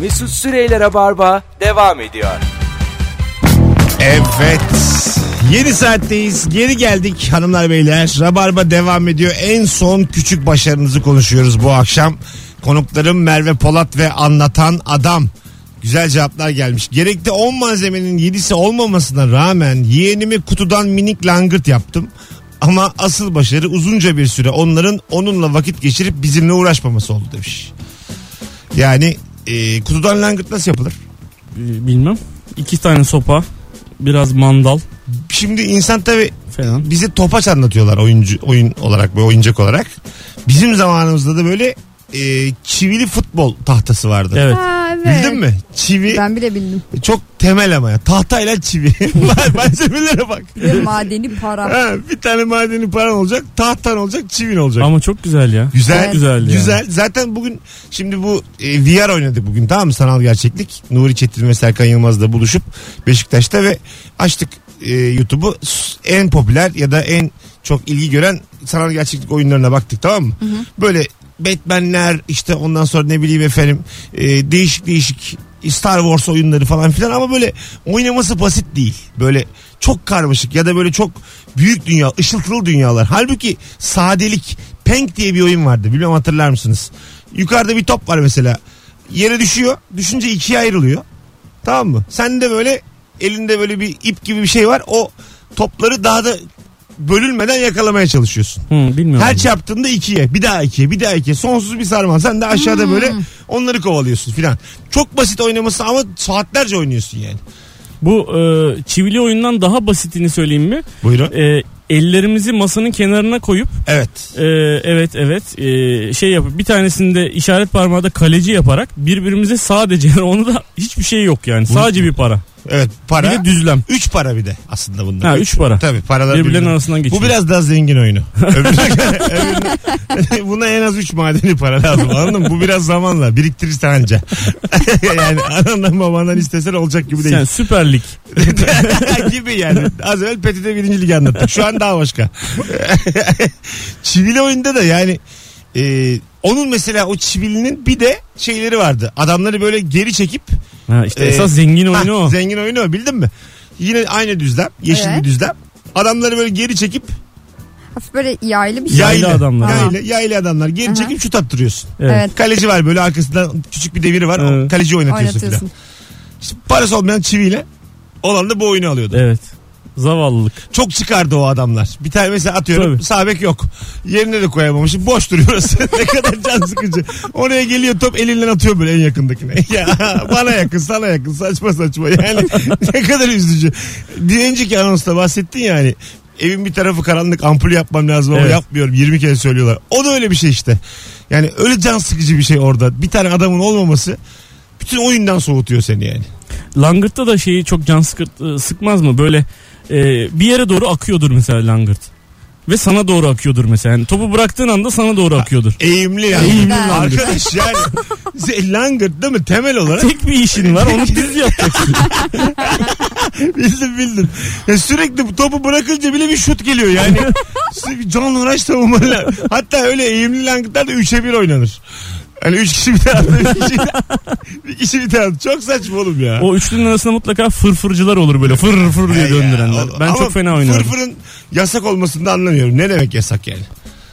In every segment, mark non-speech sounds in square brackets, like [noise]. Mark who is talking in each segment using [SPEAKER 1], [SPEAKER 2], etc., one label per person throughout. [SPEAKER 1] Mesut Süreyler'e barba devam ediyor.
[SPEAKER 2] Evet. Yeni saatteyiz. Geri geldik hanımlar beyler. Rabarba devam ediyor. En son küçük başarınızı konuşuyoruz bu akşam. Konuklarım Merve Polat ve anlatan adam. Güzel cevaplar gelmiş. Gerekli 10 malzemenin 7'si olmamasına rağmen yeğenimi kutudan minik langırt yaptım. Ama asıl başarı uzunca bir süre onların onunla vakit geçirip bizimle uğraşmaması oldu demiş. Yani e, kutudan langırt nasıl yapılır?
[SPEAKER 3] Ee, Bilmem. İki tane sopa. Biraz mandal
[SPEAKER 2] Şimdi insan tabii
[SPEAKER 3] falan.
[SPEAKER 2] bize topaç anlatıyorlar oyuncu oyun olarak ve oyuncak olarak. Bizim zamanımızda da böyle e, çivili futbol tahtası vardı.
[SPEAKER 3] Evet.
[SPEAKER 4] Ha, evet.
[SPEAKER 2] Bildin mi? Çivi
[SPEAKER 4] Ben bile bildim.
[SPEAKER 2] çok temel ama ya. Tahtayla
[SPEAKER 4] [laughs]
[SPEAKER 2] çivi. Malzemelere bak.
[SPEAKER 4] Bir de madeni
[SPEAKER 2] [laughs]
[SPEAKER 4] para.
[SPEAKER 2] Ha, bir tane madeni paran olacak, tahtan olacak, çivin olacak.
[SPEAKER 3] Ama çok güzel ya.
[SPEAKER 2] Güzel.
[SPEAKER 3] Çok güzel. yani.
[SPEAKER 2] Güzel. Zaten bugün şimdi bu e, VR oynadık bugün tamam mı? Sanal gerçeklik. Nuri Çetin ve Serkan Yılmaz'la buluşup Beşiktaş'ta ve açtık e, YouTube'u. S- En popüler ya da en çok ilgi gören sanal gerçeklik oyunlarına baktık tamam mı? Böyle Batman'ler işte ondan sonra ne bileyim efendim e, değişik değişik Star Wars oyunları falan filan ama böyle oynaması basit değil. Böyle çok karmaşık ya da böyle çok büyük dünya, ışıltılı dünyalar. Halbuki sadelik, Peng diye bir oyun vardı. Bilmem hatırlar mısınız? Yukarıda bir top var mesela. Yere düşüyor. Düşünce ikiye ayrılıyor. Tamam mı? Sen de böyle elinde böyle bir ip gibi bir şey var. O topları daha da bölünmeden yakalamaya çalışıyorsun.
[SPEAKER 3] Hı, bilmiyorum.
[SPEAKER 2] Her şey- çarptığında ikiye, bir daha ikiye, bir daha ikiye. Sonsuz bir sarmal. Sen de aşağıda böyle onları kovalıyorsun filan. Çok basit oynaması ama saatlerce oynuyorsun yani.
[SPEAKER 3] Bu e, çivili oyundan daha basitini söyleyeyim mi?
[SPEAKER 2] Buyurun.
[SPEAKER 3] E, ellerimizi masanın kenarına koyup
[SPEAKER 2] Evet.
[SPEAKER 3] e, evet evet e, şey yapıp bir tanesinde işaret parmağı da kaleci yaparak birbirimize sadece [laughs] yani onu da hiçbir şey yok yani. Sadece bir para.
[SPEAKER 2] Evet.
[SPEAKER 3] Bir
[SPEAKER 2] Para.
[SPEAKER 3] de düzlem.
[SPEAKER 2] Üç para bir de aslında bunda.
[SPEAKER 3] Ha, üç para.
[SPEAKER 2] Tabii paralar
[SPEAKER 3] Birbirlerinin
[SPEAKER 2] birbirine-
[SPEAKER 3] arasından geçiyor.
[SPEAKER 2] Bu biraz daha zengin oyunu. [laughs] Öbürüne- öbürüne- [laughs] Buna en az 3 madeni para lazım anladın mı? Bu biraz zamanla biriktirirsen anca. [laughs] yani anandan babandan istesen olacak gibi değil.
[SPEAKER 3] yani Süper Lig.
[SPEAKER 2] [laughs] gibi yani. Az evvel Petit'e birinci ligi anlattık. Şu an daha başka. [laughs] Çivili oyunda da yani e, onun mesela o çivilinin bir de şeyleri vardı. Adamları böyle geri çekip
[SPEAKER 3] Ha, işte
[SPEAKER 2] Ee,
[SPEAKER 3] esas zengin oyunu
[SPEAKER 2] Ha,
[SPEAKER 3] o.
[SPEAKER 2] Zengin oyunu o bildin mi? Yine aynı düzlem. Yeşil
[SPEAKER 4] Evet.
[SPEAKER 2] bir düzlem. Adamları böyle geri çekip
[SPEAKER 4] Hafif böyle yaylı bir şey.
[SPEAKER 3] Yaylı
[SPEAKER 2] yaylı,
[SPEAKER 3] adamlar.
[SPEAKER 2] Yaylı, yaylı adamlar geri
[SPEAKER 4] Aha.
[SPEAKER 2] çekip şut attırıyorsun.
[SPEAKER 4] Evet.
[SPEAKER 2] Kaleci var böyle arkasından küçük bir deviri var.
[SPEAKER 3] Evet.
[SPEAKER 2] O Kaleci oynatıyorsun,
[SPEAKER 4] Oynatıyorsun.
[SPEAKER 2] filan. İşte parası olmayan çiviyle olan da bu oyunu alıyordu.
[SPEAKER 3] Evet. Zavallılık.
[SPEAKER 2] Çok çıkardı o adamlar. Bir tane mesela atıyorum
[SPEAKER 3] Tabii.
[SPEAKER 2] sabek yok. Yerine de koyamamışım. Boş duruyor [laughs] orası. ne kadar can sıkıcı. Oraya geliyor top elinden atıyor böyle en yakındakine. [laughs] ya bana yakın sana yakın saçma saçma. Yani [laughs] ne kadar üzücü. Bir önceki anonsta bahsettin ya hani evin bir tarafı karanlık ampul yapmam lazım ama
[SPEAKER 3] Evet.
[SPEAKER 2] yapmıyorum 20 kere söylüyorlar. O da öyle bir şey işte. Yani öyle can sıkıcı bir şey orada. Bir tane adamın olmaması bütün oyundan soğutuyor seni yani.
[SPEAKER 3] Langırt'ta da şeyi çok can sıkı- sıkmaz mı? Böyle e, bir yere doğru akıyordur mesela langırt. Ve sana doğru akıyordur mesela. Yani topu bıraktığın anda sana doğru akıyordur.
[SPEAKER 2] Eğimli yani.
[SPEAKER 3] Eğimli langırt.
[SPEAKER 2] Arkadaş yani. Se- Langırt değil mi temel olarak?
[SPEAKER 3] Tek bir işin var onu düz yapacaksın.
[SPEAKER 2] bildim bildim. Ya sürekli bu topu bırakınca bile bir şut geliyor yani. Sü- Can Uğraş savunmalar. Hatta öyle eğimli langıtlar da 3'e 1 oynanır. Hani 3 kişi bir tarafta bir kişi, bir kişi bir tarafta. Çok saçma oğlum ya.
[SPEAKER 3] o üçlünün arasında mutlaka fırfırcılar olur böyle fır fır diye
[SPEAKER 2] Ya,
[SPEAKER 3] döndürenler.
[SPEAKER 2] o-
[SPEAKER 3] Ben
[SPEAKER 2] ama
[SPEAKER 3] çok fena oynardım.
[SPEAKER 2] Fırfırın yasak olmasını da anlamıyorum. Ne demek yasak yani?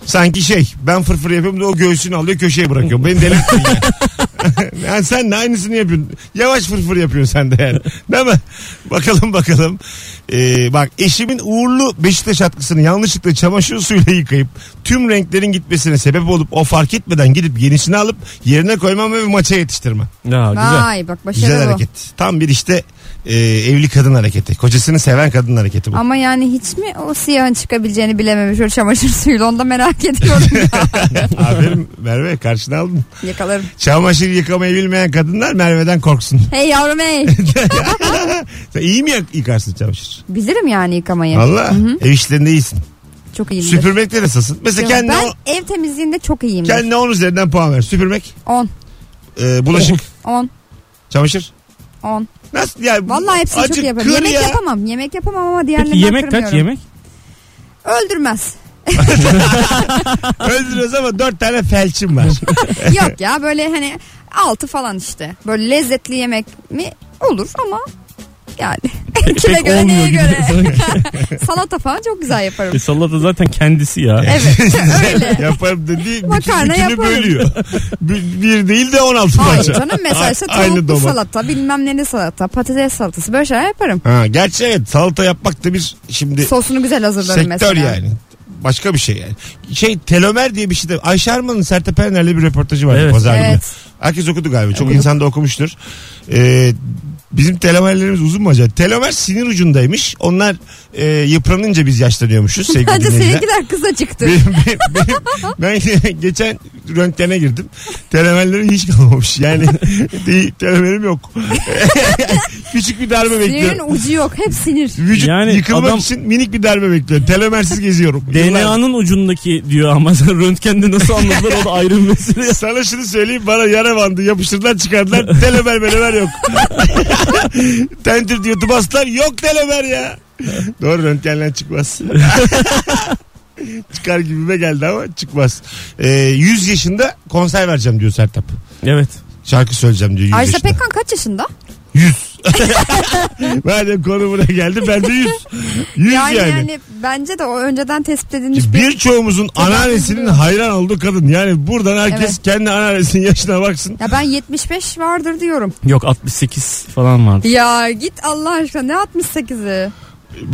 [SPEAKER 2] Sanki şey ben fırfır yapıyorum da o göğsünü alıyor köşeye bırakıyor. Beni delirttin yani. yani [laughs] sen de aynısını yapıyorsun. Yavaş fırfır yapıyorsun sen de yani. Değil mi? Bakalım bakalım. Ee, bak eşimin uğurlu Beşiktaş atkısını yanlışlıkla çamaşır suyuyla yıkayıp tüm renklerin gitmesine sebep olup o fark etmeden gidip yenisini alıp yerine koymam ve maça yetiştirmem.
[SPEAKER 3] Ya güzel.
[SPEAKER 4] Vay bak
[SPEAKER 2] Güzel
[SPEAKER 4] başarılı bu.
[SPEAKER 2] hareket. Tam bir işte e, evli kadın hareketi. Kocasını seven kadın hareketi bu.
[SPEAKER 4] Ama yani hiç mi o siyahın çıkabileceğini bilememiş o çamaşır [laughs] suyuyla onu da merak ediyorum.
[SPEAKER 2] [laughs] Aferin Merve karşına aldın.
[SPEAKER 4] Yakalarım.
[SPEAKER 2] Çamaşır yıkamayı bilmeyen kadınlar Merve'den korksun.
[SPEAKER 4] Hey
[SPEAKER 2] [laughs]
[SPEAKER 4] yavrum hey.
[SPEAKER 2] Sen iyi mi yak- yıkarsın çamaşır?
[SPEAKER 4] Bilirim yani yıkamayı.
[SPEAKER 2] Valla ev işlerinde iyisin.
[SPEAKER 4] Çok iyiyim.
[SPEAKER 2] Süpürmekte nasılsın? Mesela
[SPEAKER 4] ben
[SPEAKER 2] kendine, on,
[SPEAKER 4] ev temizliğinde çok iyiyim.
[SPEAKER 2] kendine 10 üzerinden puan ver. Süpürmek,
[SPEAKER 4] 10
[SPEAKER 2] e,
[SPEAKER 4] [laughs]
[SPEAKER 2] bulaşık,
[SPEAKER 4] 10
[SPEAKER 2] çamaşır.
[SPEAKER 4] 10.
[SPEAKER 2] Nasıl yani?
[SPEAKER 4] Vallahi hepsini
[SPEAKER 2] Azıcık
[SPEAKER 4] çok yaparım.
[SPEAKER 2] kır
[SPEAKER 4] Yemek
[SPEAKER 2] ya. [laughs]
[SPEAKER 4] yapamam. Yemek yapamam ama diğerlerini
[SPEAKER 3] Peki yemek
[SPEAKER 4] kırmıyorum.
[SPEAKER 3] kaç yemek?
[SPEAKER 4] Öldürmez. [laughs]
[SPEAKER 2] Öldürüyoruz ama 4 tane felçim var. [laughs]
[SPEAKER 4] Yok ya böyle hani altı falan işte. Böyle lezzetli yemek mi olur ama
[SPEAKER 2] [laughs]
[SPEAKER 4] yani kime
[SPEAKER 3] Pek
[SPEAKER 4] göre
[SPEAKER 3] olmuyor
[SPEAKER 4] neye
[SPEAKER 3] gibi
[SPEAKER 4] göre.
[SPEAKER 3] sanki.
[SPEAKER 4] [laughs] Salata falan çok güzel
[SPEAKER 3] E,
[SPEAKER 2] [laughs]
[SPEAKER 4] yaparım.
[SPEAKER 3] salata zaten kendisi ya.
[SPEAKER 4] Evet öyle.
[SPEAKER 2] yaparım dedi.
[SPEAKER 4] Makarna
[SPEAKER 2] Makarna yaparım.
[SPEAKER 4] yaparım.
[SPEAKER 2] bölüyor. Bir, bir değil de 16
[SPEAKER 4] Hayır
[SPEAKER 2] parça.
[SPEAKER 4] canım mesela işte
[SPEAKER 2] A- aynı
[SPEAKER 4] tavuklu
[SPEAKER 2] domates.
[SPEAKER 4] salata bilmem neli salata patates salatası böyle şeyler yaparım.
[SPEAKER 2] Ha, gerçi evet salata yapmak da bir şimdi
[SPEAKER 4] Sosunu güzel hazırlarım
[SPEAKER 2] sektör
[SPEAKER 4] mesela.
[SPEAKER 2] yani. Başka bir şey yani. Şey telomer diye bir şey de Ayşe Arman'ın Sertab Erener'le bir röportajı vardı
[SPEAKER 3] Evet.
[SPEAKER 2] pazar günü.
[SPEAKER 4] Evet.
[SPEAKER 2] Herkes okudu galiba. Çok insan da okumuştur. Ee, bizim telomerlerimiz uzun mu acaba? Telomer sinir ucundaymış. Onlar e, yıpranınca biz yaşlanıyormuşuz
[SPEAKER 4] [laughs]
[SPEAKER 2] sevgili
[SPEAKER 4] Bence
[SPEAKER 2] dinleyiciler.
[SPEAKER 4] seninkiler
[SPEAKER 2] [laughs]
[SPEAKER 4] kısacıktı.
[SPEAKER 2] Benim, benim, benim- ben [laughs] geçen röntgene girdim. Telomerlerim hiç kalmamış. Yani [laughs] değil, telomerim yok. [laughs] Küçük bir darbe bekliyorum.
[SPEAKER 4] Sinirin ucu yok. Hep sinir.
[SPEAKER 2] Vücut
[SPEAKER 3] Yani
[SPEAKER 2] yıkılmak
[SPEAKER 3] adam-
[SPEAKER 2] için minik bir darbe bekliyor. Telomersiz
[SPEAKER 3] [laughs]
[SPEAKER 2] geziyorum. Yıllar-
[SPEAKER 3] DNA'nın ucundaki diyor ama sen röntgende nasıl anladılar o da ayrı bir
[SPEAKER 2] [laughs]
[SPEAKER 3] mesele.
[SPEAKER 2] Sana şunu söyleyeyim bana yara bandı yapıştırdılar çıkardılar
[SPEAKER 3] [laughs]
[SPEAKER 2] telomer melomer yok. [laughs] Tentir diyordu bastılar yok telomer ya. Doğru röntgenle
[SPEAKER 3] [laughs]
[SPEAKER 2] çıkmaz. Çıkar gibime geldi ama çıkmaz. Ee, 100 yaşında konser vereceğim diyor Sertap.
[SPEAKER 3] Evet.
[SPEAKER 2] Şarkı söyleyeceğim diyor 100
[SPEAKER 4] Ajda
[SPEAKER 2] yaşında.
[SPEAKER 4] Pekkan kaç yaşında?
[SPEAKER 2] 100. Madem konu buraya geldi ben de 100. 100
[SPEAKER 4] Yani, yani
[SPEAKER 2] yani
[SPEAKER 4] bence de o önceden tespit edilmiş
[SPEAKER 2] Ki
[SPEAKER 4] bir
[SPEAKER 2] Birçoğumuzun anneannesinin hayran olduğu kadın. Yani buradan herkes
[SPEAKER 4] Evet.
[SPEAKER 2] kendi anneannesinin yaşına baksın.
[SPEAKER 4] Ya ben 75 vardır diyorum.
[SPEAKER 3] Yok 68 falan vardı.
[SPEAKER 4] Ya git Allah aşkına ne 68'i?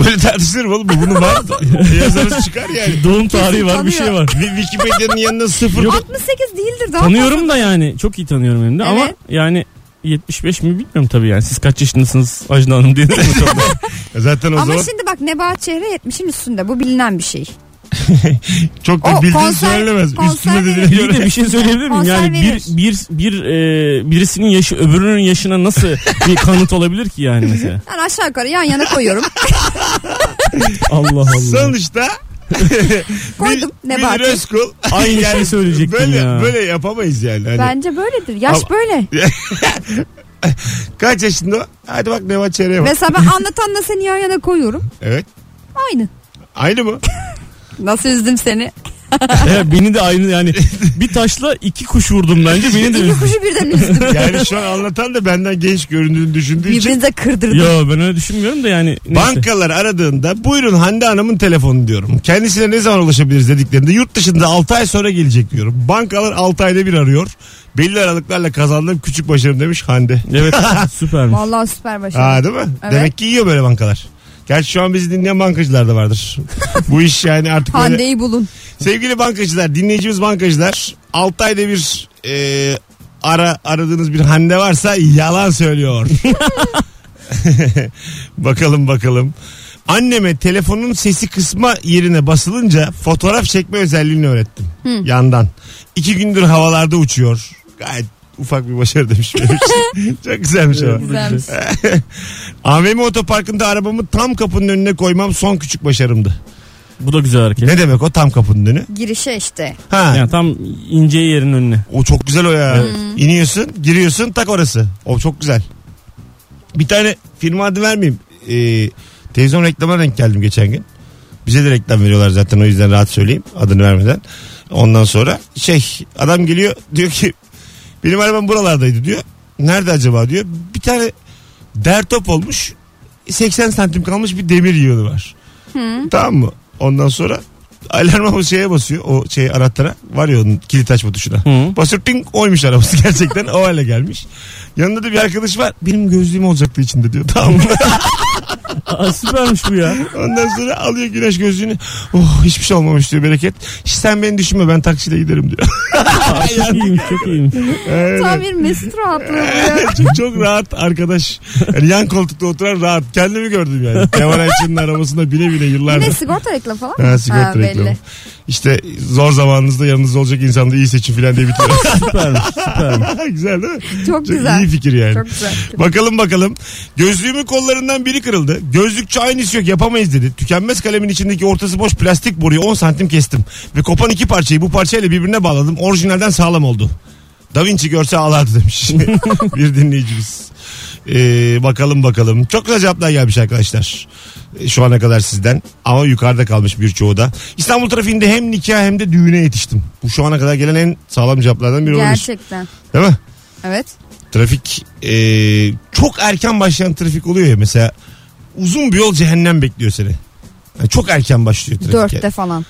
[SPEAKER 2] Böyle tartışılır mı oğlum? Bu Bunun var.
[SPEAKER 3] [laughs]
[SPEAKER 2] Yazarız çıkar yani.
[SPEAKER 3] Doğum tarihi var bir
[SPEAKER 4] tanıyor.
[SPEAKER 3] şey var.
[SPEAKER 2] Wi- Wikipedia'nın yanına sıfır.
[SPEAKER 4] 68 değildir daha.
[SPEAKER 3] Tanıyorum da yani çok iyi tanıyorum hem de ama
[SPEAKER 4] Evet.
[SPEAKER 3] yani 75 mi bilmiyorum tabii yani. Siz kaç yaşındasınız Ajda Hanım diye mi
[SPEAKER 4] [laughs]
[SPEAKER 3] tabii.
[SPEAKER 2] E Zaten o
[SPEAKER 4] Ama
[SPEAKER 2] zaman
[SPEAKER 4] şimdi bak Nebahat Çehre 70'in üstünde bu bilinen bir şey.
[SPEAKER 2] çok
[SPEAKER 4] O
[SPEAKER 2] da bildiğin
[SPEAKER 4] konser-
[SPEAKER 2] söylenemez.
[SPEAKER 4] konser
[SPEAKER 2] Üstüne dediğine
[SPEAKER 4] verir.
[SPEAKER 3] İyi
[SPEAKER 2] göre.
[SPEAKER 3] de bir şey söyleyebilir miyim?
[SPEAKER 4] Konser
[SPEAKER 3] Yani
[SPEAKER 4] verir.
[SPEAKER 3] bir, bir, bir e, birisinin yaşı öbürünün yaşına
[SPEAKER 4] [laughs]
[SPEAKER 3] nasıl bir kanıt olabilir ki yani mesela?
[SPEAKER 4] Ben aşağı yukarı yan yana
[SPEAKER 2] [laughs]
[SPEAKER 4] koyuyorum.
[SPEAKER 3] Allah Allah.
[SPEAKER 2] Sonuçta
[SPEAKER 4] Koydum
[SPEAKER 2] Münir
[SPEAKER 4] Nebahat'i.
[SPEAKER 2] Özkul.
[SPEAKER 3] [laughs] Aynı şeyi söyleyecektim
[SPEAKER 2] böyle,
[SPEAKER 3] ya.
[SPEAKER 2] Böyle yapamayız yani. Hani
[SPEAKER 4] Bence böyledir. Yaş
[SPEAKER 2] Ama-
[SPEAKER 4] böyle.
[SPEAKER 2] Kaç yaşında? o? Hadi bak Nevat Çeyre'ye bak.
[SPEAKER 4] Mesela ben anlatanla seni yan yana koyuyorum.
[SPEAKER 2] Evet.
[SPEAKER 4] Aynı.
[SPEAKER 2] Aynı mı?
[SPEAKER 4] Nasıl üzdüm seni?
[SPEAKER 3] Ya beni de aynı yani bir taşla iki kuş vurdum bence beni de
[SPEAKER 4] İki [laughs]
[SPEAKER 3] üzdü.
[SPEAKER 4] kuşu birden
[SPEAKER 2] [laughs]
[SPEAKER 4] üzdüm.
[SPEAKER 2] Yani şu an anlatan da benden genç göründüğünü düşündüğü için.
[SPEAKER 4] Birbirinize kırdırdım.
[SPEAKER 3] Yo ben öyle düşünmüyorum da yani. neyse.
[SPEAKER 2] Bankalar aradığında buyurun Hande Hanım'ın telefonu diyorum. Kendisine ne zaman ulaşabiliriz dediklerinde yurt dışında 6 ay sonra gelecek diyorum. Bankalar 6 ayda bir arıyor. Belli aralıklarla kazandığım küçük başarım demiş Hande.
[SPEAKER 3] Evet süpermiş.
[SPEAKER 4] Vallahi süper başarı.
[SPEAKER 2] Aa değil mi?
[SPEAKER 4] Şey, Evet.
[SPEAKER 2] Demek ki yiyor böyle bankalar. Gerçi şu an bizi dinleyen bankacılar da vardır. Bu iş yani artık böyle...
[SPEAKER 4] Hande'yi bulun.
[SPEAKER 2] Sevgili bankacılar, dinleyicimiz bankacılar. 6 ayda bir e, ara aradığınız bir Hande varsa yalan söylüyor. [laughs] bakalım bakalım. Anneme telefonun sesi kısma yerine basılınca fotoğraf çekme özelliğini öğrettim. Yandan. İki gündür havalarda uçuyor. Gayet ufak bir başarı demiş. benim için. Çok güzelmiş ama.
[SPEAKER 4] Güzelmiş.
[SPEAKER 2] AVM otoparkında arabamı tam kapının önüne koymam son küçük başarımdı.
[SPEAKER 3] Bu da güzel hareket.
[SPEAKER 2] Ne demek o tam kapının önü?
[SPEAKER 4] Girişe işte.
[SPEAKER 2] Ha,
[SPEAKER 3] Yani tam ince yerin önüne.
[SPEAKER 2] O çok güzel o ya. İniyorsun, giriyorsun tak orası. O çok güzel. Bir tane firma adı vermeyeyim. Ee, televizyon reklamına denk geldim geçen gün. Bize de reklam veriyorlar zaten o yüzden rahat söyleyeyim adını vermeden. Ondan sonra şey adam geliyor diyor ki benim arabam buralardaydı diyor. Nerede acaba diyor. Bir tane dertop olmuş 80 santim kalmış bir demir yığını var. Tamam mı? Ondan sonra alarma o şeye basıyor. O şey anahtara var ya onun kilit açma tuşuna.
[SPEAKER 3] Hı.
[SPEAKER 2] Basıyor ping oymuş arabası gerçekten [laughs] o hale gelmiş. Yanında da bir arkadaş var. Benim gözlüğüm olacaktı içinde diyor. Tamam mı?
[SPEAKER 3] Aa, süpermiş bu ya.
[SPEAKER 2] Ondan sonra alıyor güneş gözlüğünü. Oh hiçbir şey olmamış diyor bereket. Hiç sen beni düşünme ben taksiyle giderim diyor. [laughs]
[SPEAKER 3] Aa, çok iyiymiş çok iyiymiş.
[SPEAKER 2] Evet.
[SPEAKER 4] Tam bir
[SPEAKER 2] [laughs]
[SPEAKER 4] mesut rahatlığı bu ya.
[SPEAKER 2] çok, çok rahat arkadaş. Yani yan koltukta oturan rahat. Kendimi gördüm yani. Kemal Ayçin'in arabasında bile bile
[SPEAKER 4] Bir
[SPEAKER 2] yıllardır.
[SPEAKER 4] de sigorta reklamı falan.
[SPEAKER 2] Ha, sigorta
[SPEAKER 4] belli.
[SPEAKER 2] reklamı. İşte zor zamanınızda yanınızda olacak insanı da iyi seçin filan diye bitiyor.
[SPEAKER 3] Süpermiş süpermiş.
[SPEAKER 2] [laughs] güzel değil mi?
[SPEAKER 4] Çok güzel.
[SPEAKER 2] iyi fikir yani.
[SPEAKER 4] Çok güzel.
[SPEAKER 2] Bakalım bakalım. Gözlüğümün kollarından biri kırıldı. Gözlükçü aynısı yok yapamayız dedi. Tükenmez kalemin içindeki ortası boş plastik boruyu 10 santim kestim. Ve kopan iki parçayı bu parçayla birbirine bağladım. Orijinalden sağlam oldu. Da Vinci görse ağlardı demiş. [laughs] bir dinleyicimiz. Ee, bakalım bakalım. Çok güzel cevaplar gelmiş arkadaşlar. Ee, Şu ana kadar sizden. Ama yukarıda kalmış birçoğu da. İstanbul trafiğinde hem nikah hem de düğüne yetiştim. Bu şu ana kadar gelen en sağlam cevaplardan biri olmuş.
[SPEAKER 4] Gerçekten.
[SPEAKER 2] Değil mi?
[SPEAKER 4] Evet.
[SPEAKER 2] Trafik e, çok erken başlayan trafik oluyor ya mesela uzun bir yol cehennem bekliyor seni. Yani çok erken başlıyor trafik.
[SPEAKER 4] Dörtte falan.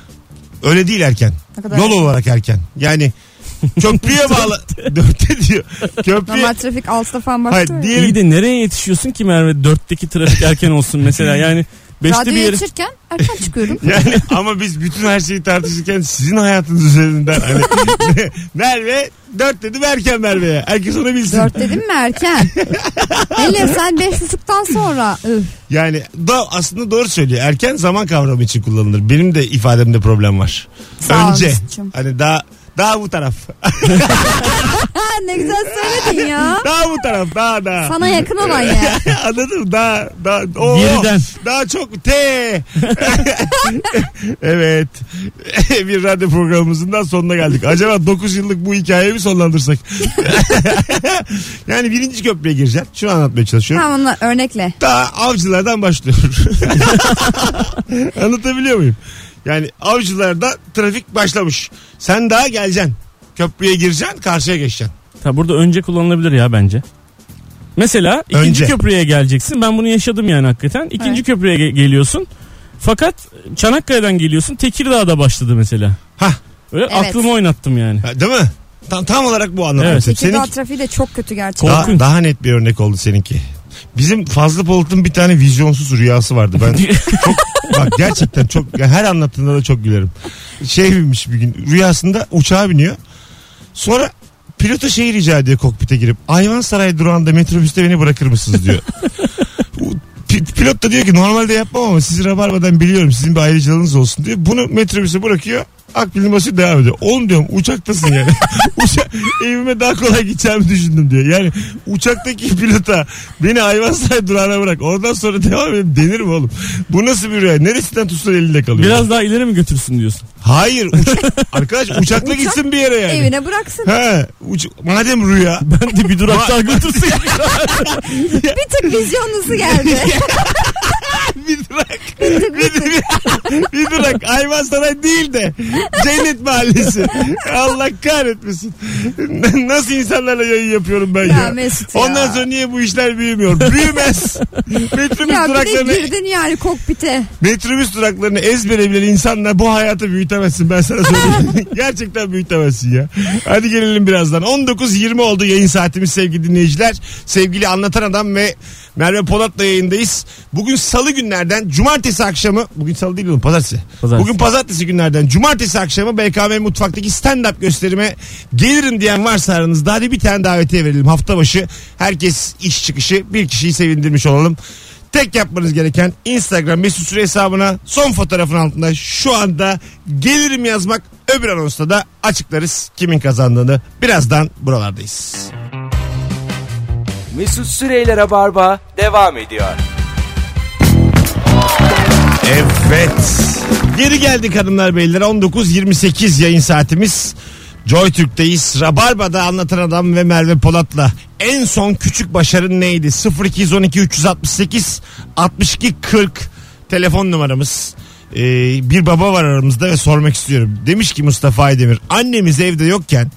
[SPEAKER 2] Öyle değil erken.
[SPEAKER 4] Ne kadar
[SPEAKER 2] Yol
[SPEAKER 4] erken?
[SPEAKER 2] olarak erken. Yani
[SPEAKER 4] [laughs]
[SPEAKER 2] köprüye bağlı. Dörtte diyor. Köprüye.
[SPEAKER 4] Normal trafik altıda falan
[SPEAKER 2] Hayır,
[SPEAKER 4] başlıyor. ya.
[SPEAKER 2] diyelim
[SPEAKER 3] İyi de nereye yetişiyorsun ki Merve? Dörtteki trafik
[SPEAKER 2] [laughs]
[SPEAKER 3] erken olsun mesela. Yani beşte bir
[SPEAKER 4] Radyoyu
[SPEAKER 3] yere...
[SPEAKER 4] açırken erken çıkıyorum.
[SPEAKER 2] Yani ama biz bütün her şeyi tartışırken sizin hayatınız üzerinden hani
[SPEAKER 4] [laughs]
[SPEAKER 2] Merve dört dedim erken Merve'ye. Herkes onu bilsin.
[SPEAKER 4] Dört dedim mi
[SPEAKER 2] [laughs]
[SPEAKER 4] erken? Hele sen beş buçuktan sonra. Üf.
[SPEAKER 2] Yani da aslında doğru söylüyor. Erken zaman kavramı için kullanılır. Benim de ifademde problem var.
[SPEAKER 4] Sağ ol
[SPEAKER 2] Önce.
[SPEAKER 4] Mesut'cum.
[SPEAKER 2] Hani daha daha bu taraf.
[SPEAKER 4] Ha, ne güzel söyledin ya.
[SPEAKER 2] Daha bu taraf. Daha daha. [laughs]
[SPEAKER 4] Sana yakın olan ya.
[SPEAKER 2] Anladın mı? Daha daha Oo,
[SPEAKER 3] Geriden.
[SPEAKER 2] Daha çok T. [laughs] evet. [laughs] bir radyo programımızın da sonuna geldik. Acaba 9 yıllık bu hikayeyi mi sonlandırsak? [laughs] yani birinci köprüye gireceğim. Şunu anlatmaya çalışıyorum.
[SPEAKER 4] Tamam onunla örnekle.
[SPEAKER 2] Daha avcılardan başlıyor. [laughs] Anlatabiliyor muyum? Yani avcılarda trafik başlamış. Sen daha geleceksin. Köprüye gireceksin, karşıya geçeceksin.
[SPEAKER 3] Ta burada önce kullanılabilir ya bence. Mesela ikinci
[SPEAKER 2] Önce.
[SPEAKER 3] köprüye geleceksin. Ben bunu yaşadım yani hakikaten. İkinci
[SPEAKER 4] Evet.
[SPEAKER 3] köprüye ge- geliyorsun. Fakat Çanakkale'den geliyorsun. Tekirdağ'da başladı mesela.
[SPEAKER 2] Hah.
[SPEAKER 3] Öyle
[SPEAKER 4] Evet.
[SPEAKER 3] aklımı oynattım yani.
[SPEAKER 2] Ha, Değil mi? Tam, tam olarak bu anlamda.
[SPEAKER 3] Evet.
[SPEAKER 4] Tekirdağ
[SPEAKER 2] Seninki-
[SPEAKER 4] trafiği de çok kötü gerçekten.
[SPEAKER 2] Daha,
[SPEAKER 3] Korkunç.
[SPEAKER 2] daha net bir örnek oldu seninki. Bizim Fazlı Polat'ın bir tane vizyonsuz rüyası vardı. Ben çok bak gerçekten çok ya her anlattığında da çok gülerim. Şey bilmiş bir gün rüyasında uçağa biniyor. Sonra pilota şey rica ediyor kokpite girip Ayvansaray durağında metrobüste beni bırakır mısınız diyor. Bu pi- Pilot da diyor ki normalde yapmam ama sizi rabarbadan biliyorum sizin bir ayrıcalığınız olsun diyor. Bunu metrobüse bırakıyor akbilin basıyor devam ediyor. Oğlum diyorum uçaktasın yani. [laughs] Uça evime daha kolay gideceğimi düşündüm diyor. Yani uçaktaki pilota beni Ayvansaray durağına bırak. Oradan sonra devam edeyim denir mi oğlum? Bu nasıl bir rüya? Neresinden tutsun elinde kalıyor?
[SPEAKER 3] Biraz daha ileri mi götürsün diyorsun?
[SPEAKER 2] Hayır. uça- Arkadaş uçakla
[SPEAKER 4] Uçak
[SPEAKER 2] gitsin bir yere yani.
[SPEAKER 4] Evine bıraksın.
[SPEAKER 2] [laughs] He, uç- madem rüya.
[SPEAKER 3] [laughs] Ben de bir durak daha götürsün.
[SPEAKER 4] Bir tık
[SPEAKER 2] [laughs]
[SPEAKER 4] vizyonunuzu geldi.
[SPEAKER 2] [laughs] bir durak. bir, bir, bir durak. Ayvansaray değil de Cennet Mahallesi. Allah kahretmesin. [laughs] Nasıl insanlarla yayın yapıyorum ben ya?
[SPEAKER 4] Ya Mesut ya.
[SPEAKER 2] Ondan sonra niye bu işler büyümüyor?
[SPEAKER 4] [laughs]
[SPEAKER 2] Büyümez. metrobüs
[SPEAKER 4] ya bir de
[SPEAKER 2] duraklarını
[SPEAKER 4] girdin yani kokpite.
[SPEAKER 2] metrobüs duraklarını ezbere bilen insanla bu hayatı büyütemezsin ben sana söyleyeyim. Gerçekten büyütemezsin ya. Hadi gelelim birazdan. 19.20 oldu yayın saatimiz sevgili dinleyiciler. Sevgili Anlatan Adam ve Merve Polat'la yayındayız. Bugün salı günlerden cumartesi akşamı bugün salı değil oğlum pazartesi.
[SPEAKER 3] Pazartesi.
[SPEAKER 2] Bugün pazartesi günlerden cumartesi akşamı BKM mutfaktaki stand-up gösterime gelirim diyen varsa aranızda hadi bir tane davetiye verelim hafta başı. Herkes iş çıkışı bir kişiyi sevindirmiş olalım. Tek yapmanız gereken Instagram mesut süre hesabına son fotoğrafın altında şu anda gelirim yazmak öbür anonsta da açıklarız kimin kazandığını. Birazdan buralardayız.
[SPEAKER 1] Mesut Süreyler'e barba devam ediyor.
[SPEAKER 2] Evet. Geri geldik hanımlar beyler. 19.28 yayın saatimiz. Joy Türk'teyiz. Rabarba'da anlatan adam ve Merve Polat'la en son küçük başarın neydi? 0212 368 62 40 telefon numaramız. Ee, bir baba var aramızda ve sormak istiyorum. Demiş ki Mustafa Aydemir annemiz evde yokken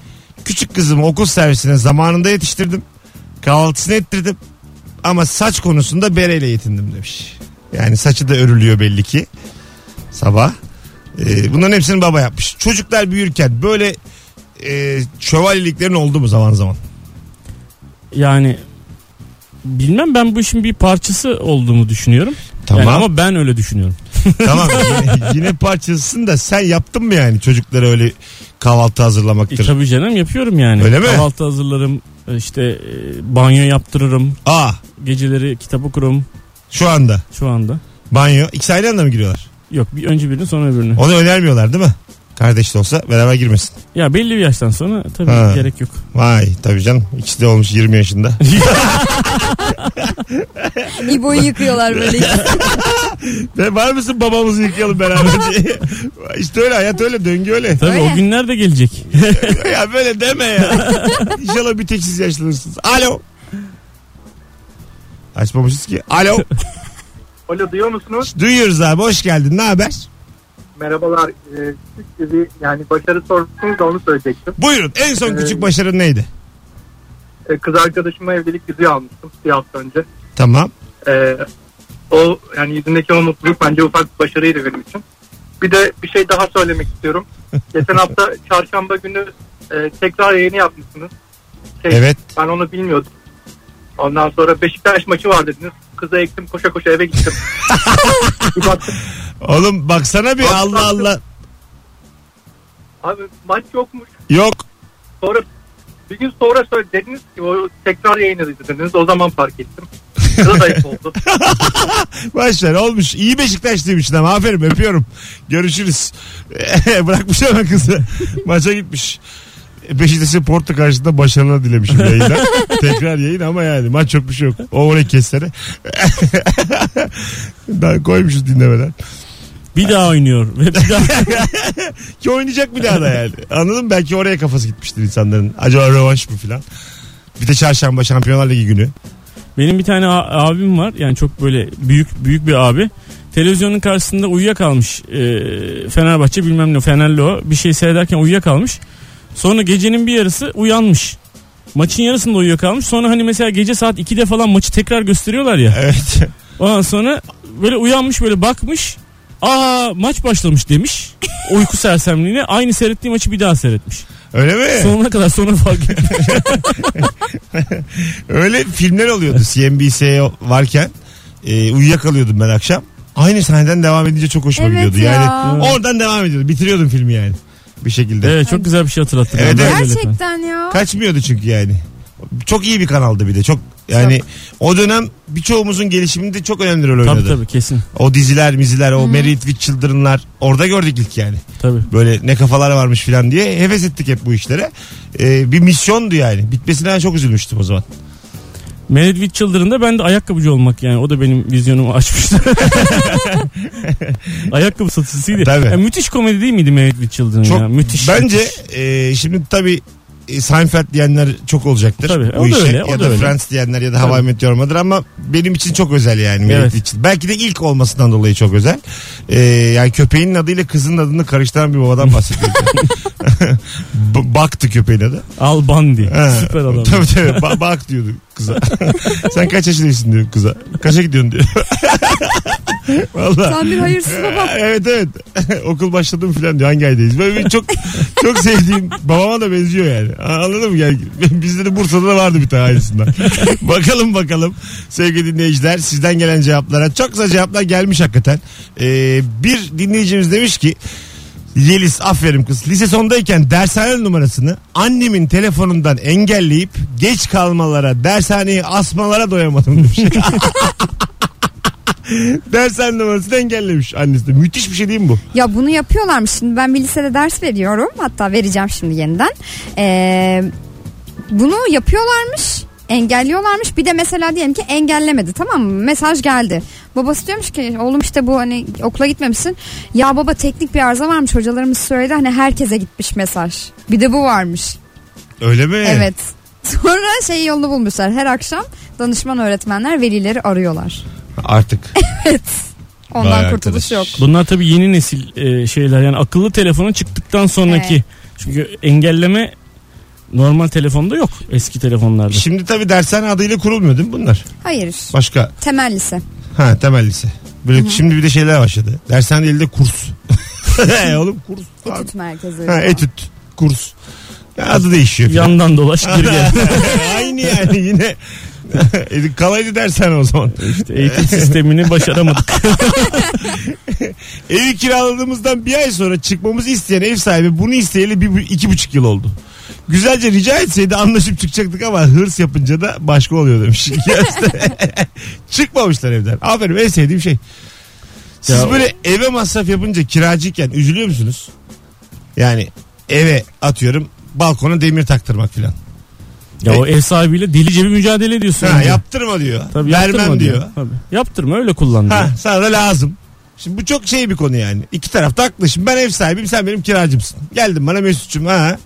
[SPEAKER 2] küçük kızımı okul servisine zamanında yetiştirdim. Kahvaltısını ettirdim ama saç konusunda bereyle yetindim demiş. Yani saçı da örülüyor belli ki. Sabah. Ee, bunların hepsini baba yapmış. Çocuklar büyürken böyle e, şövalyeliklerin oldu mu zaman zaman?
[SPEAKER 3] [laughs] yani bilmem ben bu işin bir parçası olduğumu düşünüyorum. Yani ama ben öyle düşünüyorum.
[SPEAKER 2] tamam. Yine, yine parçasısın da sen yaptın mı yani çocuklara öyle kahvaltı
[SPEAKER 3] E,
[SPEAKER 2] hazırlamaktır?
[SPEAKER 3] tabii canım yapıyorum yani.
[SPEAKER 2] Öyle mi?
[SPEAKER 3] Kahvaltı hazırlarım. işte e, banyo yaptırırım.
[SPEAKER 2] Aa
[SPEAKER 3] Geceleri kitap okurum
[SPEAKER 2] şu anda
[SPEAKER 3] şu anda.
[SPEAKER 2] banyo. İkisi aynı anda mı giriyorlar?
[SPEAKER 3] Yok bir önce birini sonra öbürünü.
[SPEAKER 2] Onu önermiyorlar değil mi? Kardeş de olsa beraber girmesin.
[SPEAKER 3] Ya belli bir yaştan sonra tabii
[SPEAKER 2] Ha.
[SPEAKER 3] gerek yok. [laughs]
[SPEAKER 2] Vay tabii canım. İkisi de olmuş 20 yaşında.
[SPEAKER 4] İbo'yu yıkıyorlar
[SPEAKER 2] [laughs]
[SPEAKER 4] böyle.
[SPEAKER 2] Ve var mısın babamızı yıkayalım beraber diye. [laughs] işte öyle hayat öyle döngü öyle.
[SPEAKER 3] Tabii
[SPEAKER 4] Öyle.
[SPEAKER 3] o günler de gelecek.
[SPEAKER 2] ya böyle deme ya. İnşallah bir tek siz yaşlanırsınız. Alo. Açmamışız ki. Alo.
[SPEAKER 5] Alo duyuyor musunuz?
[SPEAKER 2] Duyuyoruz abi hoş geldin. Ne haber?
[SPEAKER 5] Merhabalar. Ee, siz dedi yani başarı sormuşsunuz da onu söyleyecektim.
[SPEAKER 2] Buyurun en son
[SPEAKER 5] Ee,
[SPEAKER 2] küçük başarın neydi?
[SPEAKER 5] e, kız arkadaşıma evlilik yüzüğü almıştım bir hafta önce.
[SPEAKER 2] Tamam.
[SPEAKER 5] E, o yani yüzündeki o mutluluk bence ufak bir başarıydı benim için. Bir de bir şey daha söylemek istiyorum. Geçen hafta çarşamba günü e, tekrar yayını yapmışsınız. Şey,
[SPEAKER 2] Evet.
[SPEAKER 5] Ben onu bilmiyordum. Ondan sonra Beşiktaş maçı var dediniz. Kıza ektim koşa koşa eve gittim. bir baktım.
[SPEAKER 2] Oğlum baksana bir
[SPEAKER 5] Bak-
[SPEAKER 2] Allah Allah.
[SPEAKER 5] Abi maç yokmuş.
[SPEAKER 2] Yok.
[SPEAKER 5] Sonra bir gün sonra söyle- dediniz ki o tekrar yayını dediniz. O zaman fark ettim. Biraz ayıp oldu.
[SPEAKER 2] Başlar olmuş. İyi Beşiktaşlıymışsın ama aferin öpüyorum. Görüşürüz. [laughs] Bırakmış ama kızı. Maça gitmiş. Beşiktaş'ın Porto karşısında başarılar dilemişim yayında. Tekrar yayın ama yani maç çok bir şey yok. O oraya kessene. [laughs] Daha koymuşuz dinlemeden.
[SPEAKER 3] Bir daha oynuyor ve bir daha
[SPEAKER 2] Ki oynayacak bir daha da yani. Anladın mı? Belki oraya kafası gitmiştir insanların. Acaba rövanş mı filan. Bir de çarşamba Şampiyonlar Ligi günü.
[SPEAKER 3] Benim bir tane a- abim var. Yani çok böyle büyük büyük bir abi. Televizyonun karşısında uyuyakalmış. Ee, Fenerbahçe bilmem ne Fenerli o. Bir şey seyrederken uyuyakalmış. Sonra gecenin bir yarısı uyanmış. Maçın yarısında uyuyakalmış. Sonra hani mesela gece saat 2'de falan maçı tekrar gösteriyorlar ya.
[SPEAKER 2] Evet. [laughs]
[SPEAKER 3] Ondan sonra böyle uyanmış böyle bakmış. Aa maç başlamış demiş. Uyku sersemliğine aynı seyrettiği maçı bir daha seyretmiş.
[SPEAKER 2] Öyle mi?
[SPEAKER 3] Sonuna kadar sonra
[SPEAKER 2] [laughs]
[SPEAKER 3] fark etmiş.
[SPEAKER 2] Öyle filmler oluyordu CNBC varken. E, uyuyakalıyordum ben akşam. Aynı sahneden devam edince çok hoşuma
[SPEAKER 4] Evet
[SPEAKER 2] gidiyordu.
[SPEAKER 4] ya.
[SPEAKER 2] Yani oradan devam ediyordum. Bitiriyordum filmi yani. Bir şekilde.
[SPEAKER 3] Evet çok güzel bir şey hatırlattı.
[SPEAKER 2] Evet,
[SPEAKER 3] Ben de öyle efendim.
[SPEAKER 4] Gerçekten ya.
[SPEAKER 2] Kaçmıyordu çünkü yani. Çok iyi bir kanaldı bir de. Çok yani o dönem birçoğumuzun gelişiminde çok önemli rol oynadı.
[SPEAKER 3] Tabii tabii kesin.
[SPEAKER 2] O diziler, miziler, o Married with Children'lar orada gördük ilk yani.
[SPEAKER 3] Tabii.
[SPEAKER 2] Böyle ne kafalar varmış filan diye heves ettik hep bu işlere. Ee, bir misyondu yani. Bitmesine ben çok üzülmüştüm o zaman.
[SPEAKER 3] Married with Children'da ben de ayakkabıcı olmak yani o da benim
[SPEAKER 2] [laughs]
[SPEAKER 3] vizyonumu açmıştı. Ayakkabı satıcısıydı.
[SPEAKER 2] Tabii.
[SPEAKER 3] Ya müthiş komedi değil miydi Married with Children
[SPEAKER 2] Çok
[SPEAKER 3] ya? Müthiş.
[SPEAKER 2] Bence
[SPEAKER 3] müthiş.
[SPEAKER 2] e, şimdi tabii e, Seinfeld diyenler çok olacaktır.
[SPEAKER 3] Tabii,
[SPEAKER 2] bu
[SPEAKER 3] o da
[SPEAKER 2] işe.
[SPEAKER 3] öyle, o
[SPEAKER 2] ya
[SPEAKER 3] da
[SPEAKER 2] da
[SPEAKER 3] öyle.
[SPEAKER 2] Friends diyenler ya da Hava I Met Your Mother ama benim için çok özel yani. Married
[SPEAKER 3] Evet.
[SPEAKER 2] with Children. Belki de ilk olmasından dolayı çok özel. Ee, yani köpeğin adıyla kızın adını karıştıran bir
[SPEAKER 3] [laughs]
[SPEAKER 2] babadan bahsediyorum. [laughs] B- Baktı köpeğin adı.
[SPEAKER 3] Al Bundy.
[SPEAKER 2] Ha,
[SPEAKER 3] Süper adam.
[SPEAKER 2] Tabii tabii. Ba- bak diyordu kıza. [laughs] Sen kaç yaşındaysın diyor kıza. Kaça gidiyorsun diyor. [laughs] Valla.
[SPEAKER 4] Sen bir hayırsız baba.
[SPEAKER 2] Evet evet. [laughs] Okul başladı mı falan diyor. Hangi aydayız? Böyle bir çok çok sevdiğim babama da benziyor yani. A- Anladın mı? Yani [laughs] bizde de Bursa'da da vardı bir tane ailesinden. bakalım bakalım. Sevgili dinleyiciler sizden gelen cevaplara çok güzel cevaplar gelmiş hakikaten. Ee, bir dinleyicimiz demiş ki Yeliz aferin kız. Lise sondayken dershane numarasını annemin telefonundan engelleyip geç kalmalara, dershaneyi asmalara doyamadım demiş. [laughs] dershane numarasını engellemiş annesi de. Müthiş bir şey değil mi bu?
[SPEAKER 4] Ya bunu yapıyorlarmış şimdi ben bir lisede ders veriyorum hatta vereceğim şimdi yeniden. Ee, bunu yapıyorlarmış engelliyorlarmış bir de mesela diyelim ki engellemedi tamam mı mesaj geldi. Babası diyormuş ki oğlum işte bu hani okula gitmemişsin. Ya baba teknik bir arıza varmış hocalarımız söyledi hani herkese gitmiş mesaj. Bir de bu varmış.
[SPEAKER 2] Öyle mi?
[SPEAKER 4] Evet. [laughs] Sonra şey yolunu bulmuşlar her akşam danışman öğretmenler velileri arıyorlar. [laughs]
[SPEAKER 2] Artık.
[SPEAKER 4] Ondan
[SPEAKER 2] Vay arkadaş.
[SPEAKER 4] kurtuluş yok.
[SPEAKER 3] Bunlar tabii yeni nesil e, şeyler yani akıllı telefonun çıktıktan sonraki.
[SPEAKER 4] Evet.
[SPEAKER 3] Çünkü engelleme normal telefonda yok eski telefonlarda.
[SPEAKER 2] Şimdi tabii dershane adıyla kurulmuyor değil mi bunlar?
[SPEAKER 4] Hayır
[SPEAKER 2] Başka.
[SPEAKER 4] temel lise.
[SPEAKER 2] Ha temel lise. Böyle şimdi bir de şeyler başladı. Dershane değil de
[SPEAKER 4] [laughs]
[SPEAKER 2] kurs. He Oğlum kurs. abi.
[SPEAKER 4] Etüt merkezi.
[SPEAKER 2] Ha, etüt. Kurs. Ya Adı değişiyor. filan.
[SPEAKER 3] Yandan dolaş gir gel.
[SPEAKER 2] [laughs] Aynı yani
[SPEAKER 4] [laughs]
[SPEAKER 2] yine. [laughs] E, Kalaydı dershane o zaman.
[SPEAKER 3] İşte eğitim sistemini başaramadık.
[SPEAKER 2] Evi kiraladığımızdan bir ay sonra çıkmamızı isteyen ev sahibi bunu isteyeli bir, bu- iki buçuk yıl oldu. Güzelce rica etseydi anlaşıp çıkacaktık ama hırs yapınca da başka oluyor demiş. [laughs] Çıkmamışlar evden. Aferin en sevdiğim şey. Siz
[SPEAKER 3] Ya-
[SPEAKER 2] böyle eve masraf yapınca kiracıyken üzülüyor musunuz? Yani eve atıyorum balkona demir taktırmak filan.
[SPEAKER 3] ya o ev sahibiyle delice bir mücadele ediyorsun.
[SPEAKER 2] Ha,
[SPEAKER 3] önce.
[SPEAKER 2] yaptırma diyor.
[SPEAKER 3] Tabii yaptırma
[SPEAKER 2] Vermem diyor.
[SPEAKER 3] Tabii. Yaptırma öyle kullan diyor.
[SPEAKER 2] Ha, sana da lazım. Şimdi bu çok şey bir konu yani. İki taraf da haklı. Şimdi ben ev sahibiyim sen benim kiracımsın. Geldim bana Mesut'cum ha.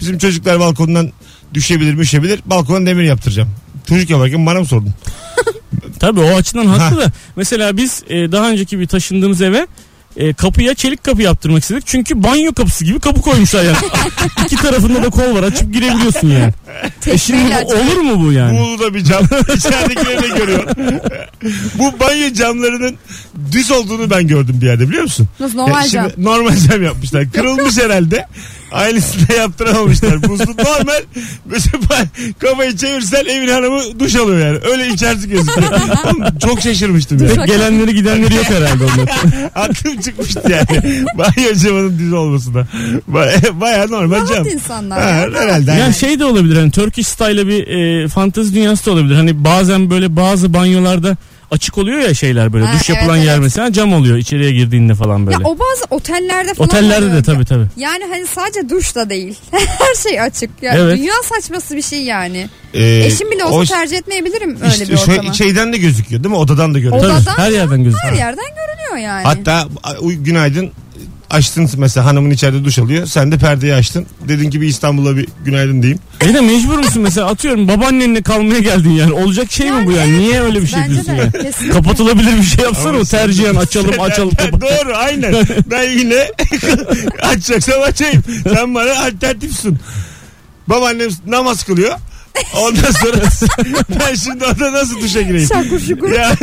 [SPEAKER 2] Bizim çocuklar balkondan düşebilir müşebilir. Balkona demir yaptıracağım. Çocuk yaparken bana mı sordun?
[SPEAKER 3] Tabii o açıdan haklı da. Mesela biz e, daha önceki bir taşındığımız eve e, e, kapıya çelik kapı yaptırmak istedik. Çünkü banyo kapısı gibi kapı koymuşlar
[SPEAKER 4] [laughs]
[SPEAKER 3] yani. İki tarafında da kol var açıp girebiliyorsun yani. E şimdi
[SPEAKER 4] Tekmeyle
[SPEAKER 3] bu,
[SPEAKER 4] açıp-
[SPEAKER 3] olur mu bu yani?
[SPEAKER 2] Muğlu'da bir cam. [laughs] İçeridekileri de görüyor. Bu banyo camlarının düz olduğunu ben gördüm bir yerde biliyor musun?
[SPEAKER 4] Nasıl normal
[SPEAKER 2] Ya şimdi
[SPEAKER 4] cam?
[SPEAKER 2] Normal cam yapmışlar. Kırılmış herhalde. Ailesi de yaptıramamışlar. Buzlu normal. Mesela kafayı çevirsen evin hanımı duş alıyor yani. Öyle içerisi gözüküyor. Oğlum Çok şaşırmıştım yani.
[SPEAKER 3] Tek gelenleri gidenleri yok herhalde onlar.
[SPEAKER 2] Aklım çıkmıştı yani. Banyo camının düz olmasına. Baya, baya normal cam.
[SPEAKER 4] Rahat insanlar.
[SPEAKER 2] Ha,
[SPEAKER 4] ya.
[SPEAKER 2] herhalde.
[SPEAKER 3] Yani şey de olabilir hani Turkish style'la bir e, fantezi dünyası da olabilir. Hani bazen böyle bazı banyolarda açık oluyor ya şeyler böyle
[SPEAKER 4] Ha,
[SPEAKER 3] duş yapılan
[SPEAKER 4] evet,
[SPEAKER 3] yer
[SPEAKER 4] evet.
[SPEAKER 3] mesela cam oluyor içeriye girdiğinde falan
[SPEAKER 4] Ya
[SPEAKER 3] böyle.
[SPEAKER 4] o bazı otellerde falan.
[SPEAKER 3] Otellerde
[SPEAKER 4] oluyor.
[SPEAKER 3] de tabii tabii.
[SPEAKER 4] Yani hani sadece duş da değil. [laughs] Her şey açık. Yani
[SPEAKER 3] Evet.
[SPEAKER 4] Dünya saçması bir şey yani.
[SPEAKER 2] Ee,
[SPEAKER 4] Eşim bile olsa
[SPEAKER 2] o-
[SPEAKER 4] tercih etmeyebilirim öyle
[SPEAKER 2] işte
[SPEAKER 4] bir
[SPEAKER 2] şey-
[SPEAKER 4] ortama.
[SPEAKER 2] şeyden de gözüküyor değil mi? Odadan da görünüyor.
[SPEAKER 3] Tabii,
[SPEAKER 4] Odadan
[SPEAKER 3] her yerden gözüküyor.
[SPEAKER 4] Her yerden görünüyor yani.
[SPEAKER 2] Hatta a- uy- günaydın açtın mesela hanımın içeride duş alıyor. Sen de perdeyi açtın. Dedin ki bir İstanbul'a bir günaydın diyeyim.
[SPEAKER 3] E de mecbur musun mesela atıyorum babaannenle kalmaya geldin yani olacak şey mi bu yani niye öyle bir şey
[SPEAKER 4] Bence
[SPEAKER 3] yapıyorsun
[SPEAKER 4] de.
[SPEAKER 3] yani?
[SPEAKER 4] Kesinlikle.
[SPEAKER 3] Kapatılabilir bir şey yapsana
[SPEAKER 2] Ama
[SPEAKER 3] o
[SPEAKER 2] [laughs]
[SPEAKER 3] tercihen açalım açalım
[SPEAKER 2] Ben-
[SPEAKER 3] kapat.
[SPEAKER 2] Doğru aynen. Ben yine [laughs] açacaksam açayım. Sen bana alternatifsin. Babaannem namaz kılıyor. Ondan sonra [laughs] ben şimdi orada nasıl duşa gireyim?
[SPEAKER 4] Şakur şukur.
[SPEAKER 2] Ya,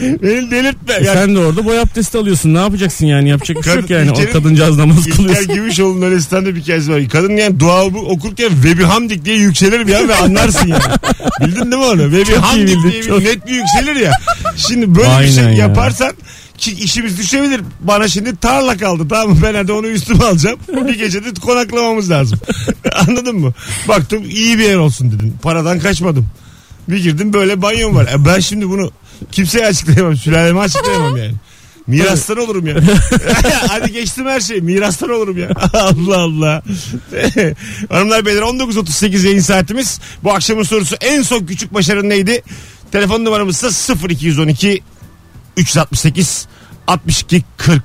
[SPEAKER 2] [laughs] beni delirtme.
[SPEAKER 3] E
[SPEAKER 2] Ya,
[SPEAKER 3] sen de orada boy abdesti alıyorsun ne yapacaksın yani yapacak bir şey yok
[SPEAKER 2] Kadın-
[SPEAKER 3] yani
[SPEAKER 2] İlker'in-
[SPEAKER 3] o kadıncağız namaz
[SPEAKER 2] İlker
[SPEAKER 3] kılıyorsun.
[SPEAKER 2] Gümüşoğlu'nun Ölistan'da bir kez var. Kadın yani dua okurken ve bihamdik diye yükselir ya ve anlarsın yani. Bildin değil mi onu? Ve bihamdik
[SPEAKER 3] iyi bildin,
[SPEAKER 2] diye bir
[SPEAKER 3] çok.
[SPEAKER 2] net bir yükselir ya. Şimdi böyle bir
[SPEAKER 3] Aynen
[SPEAKER 2] şey
[SPEAKER 3] ya.
[SPEAKER 2] yaparsan ki işimiz düşebilir. Bana şimdi tarla kaldı tamam mı? Ben hadi onu üstüme alacağım. Bir gecede konaklamamız lazım. [laughs] Anladın mı? Baktım iyi bir yer olsun dedin. Paradan kaçmadım. Bir girdim böyle banyom var. E ben şimdi bunu kimseye açıklayamam. Sülaleme açıklayamam yani. Mirastan olurum ya. [laughs] Hadi geçtim her şey. Mirastan olurum ya. [laughs] Allah Allah. [laughs] Hanımlar beyler 19.38 yayın saatimiz. Bu akşamın sorusu en son küçük başarın neydi? Telefon numaramız da 0212 368 62 40.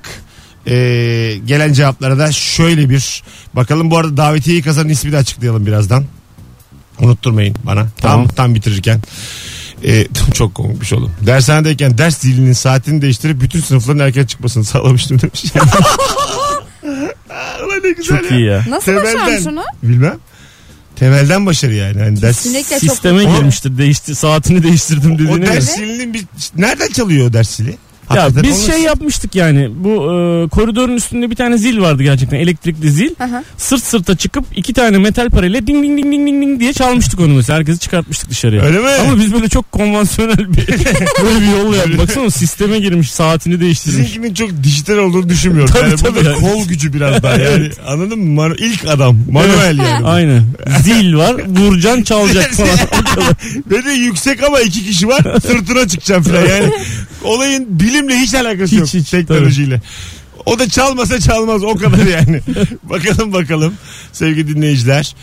[SPEAKER 2] Ee, gelen cevaplara da şöyle bir bakalım. Bu arada davetiyeyi kazanan ismi de açıklayalım birazdan. Unutturmayın bana.
[SPEAKER 3] Tamam.
[SPEAKER 2] Tam tam bitirirken. Ee, [laughs] çok komikmiş oğlum. Dershanedeyken ders dilinin saatini değiştirip bütün sınıfların erken çıkmasını sağlamıştım demiş. [laughs] Ulan ne güzel
[SPEAKER 3] Çok iyi ya.
[SPEAKER 4] Nasıl başarmış onu?
[SPEAKER 2] Bilmem. Temelden başarı yani. Hani ders,
[SPEAKER 4] Kesinlikle çok
[SPEAKER 3] Sisteme girmiştir değişti saatini değiştirdim
[SPEAKER 2] o
[SPEAKER 3] dediğine. göre.
[SPEAKER 2] ders zilinin bir, nereden çalıyor o ders zili? Hakikaten
[SPEAKER 3] Ya biz
[SPEAKER 2] onu-
[SPEAKER 3] şey yapmıştık yani bu e, koridorun üstünde bir tane zil vardı gerçekten elektrikli zil.
[SPEAKER 4] Aha.
[SPEAKER 3] Sırt sırta çıkıp iki tane metal parayla ding ding ding ding ding ding diye çalmıştık onu mesela. Herkesi çıkartmıştık dışarıya.
[SPEAKER 2] Öyle mi?
[SPEAKER 3] Ama biz böyle çok
[SPEAKER 2] [laughs]
[SPEAKER 3] konvansiyonel bir böyle bir yolla yaptık. Baksana sisteme girmiş saatini değiştirmiş.
[SPEAKER 2] Sizinkinin çok dijital olduğunu düşünmüyorum.
[SPEAKER 3] Tabii,
[SPEAKER 2] yani
[SPEAKER 3] tabii
[SPEAKER 2] burada
[SPEAKER 3] yani.
[SPEAKER 2] kol gücü biraz daha yani. Anladın mı? Man- ilk adam. Manuel yani.
[SPEAKER 3] Aynen. Zil var. Vurcan
[SPEAKER 2] [laughs]
[SPEAKER 3] çalacak falan.
[SPEAKER 2] Ve de yüksek ama iki kişi var. Sırtına çıkacağım falan yani. Olayın bilimle hiç alakası
[SPEAKER 3] Hiç,
[SPEAKER 2] yok.
[SPEAKER 3] hiç,
[SPEAKER 2] teknolojiyle. O da çalmasa çalmaz o kadar
[SPEAKER 3] [laughs]
[SPEAKER 2] yani. bakalım bakalım sevgili dinleyiciler.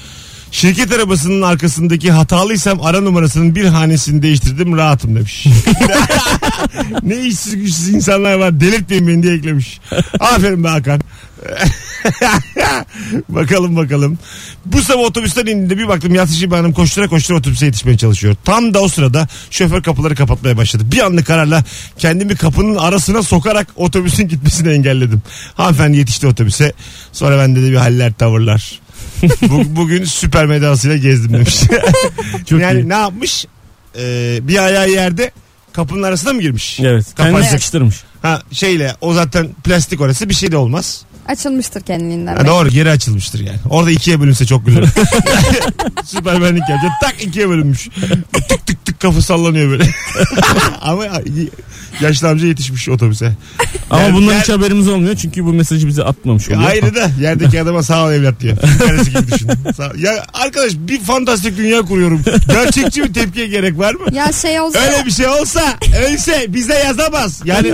[SPEAKER 2] Şirket arabasının arkasındaki hatalıysam ara numarasının bir hanesini değiştirdim rahatım
[SPEAKER 3] [laughs]
[SPEAKER 2] demiş. ne işsiz güçsüz insanlar var delirtmeyin beni diye eklemiş. Aferin be Hakan. bakalım bakalım. Bu sabah otobüsten indiğimde bir baktım Yatışı bir hanım koştura koştura otobüse yetişmeye çalışıyor. Tam da o sırada şoför kapıları kapatmaya başladı. Bir anlık kararla kendimi kapının arasına sokarak otobüsün gitmesini engelledim. Hanımefendi yetişti otobüse. Sonra bende de bir haller
[SPEAKER 3] [laughs]
[SPEAKER 2] tavırlar. Bu- bugün süper medasıyla gezdim demiş.
[SPEAKER 3] Çok
[SPEAKER 2] yani
[SPEAKER 3] iyi.
[SPEAKER 2] ne yapmış? Ee, bir ayağı yerde kapının arasına mı girmiş?
[SPEAKER 3] Evet. Kendini
[SPEAKER 2] Kapatacak.
[SPEAKER 3] sıkıştırmış.
[SPEAKER 2] Ha şeyle o zaten plastik orası bir şey de olmaz.
[SPEAKER 4] açılmıştır kendiliğinden.
[SPEAKER 2] Ha, doğru geri açılmıştır yani. Orada ikiye bölünse çok gülerim. Süpermenlik yapacak. Tak ikiye bölünmüş. Tık tık tık kafa sallanıyor böyle. [laughs] Ama yaşlı amca yetişmiş otobüse.
[SPEAKER 3] Ama
[SPEAKER 2] Yani
[SPEAKER 3] bundan
[SPEAKER 2] yer-
[SPEAKER 3] hiç haberimiz olmuyor. Çünkü bu mesajı bize atmamış oluyor.
[SPEAKER 2] Ayrı da yerdeki adama sağ ol evlat diyor. Karısı gibi düşün. Sağ- Ya arkadaş bir fantastik dünya kuruyorum. Gerçekçi bir tepkiye gerek var mı?
[SPEAKER 4] Ya şey olsa
[SPEAKER 2] Öyle bir şey olsa ölse bize yazamaz. Yani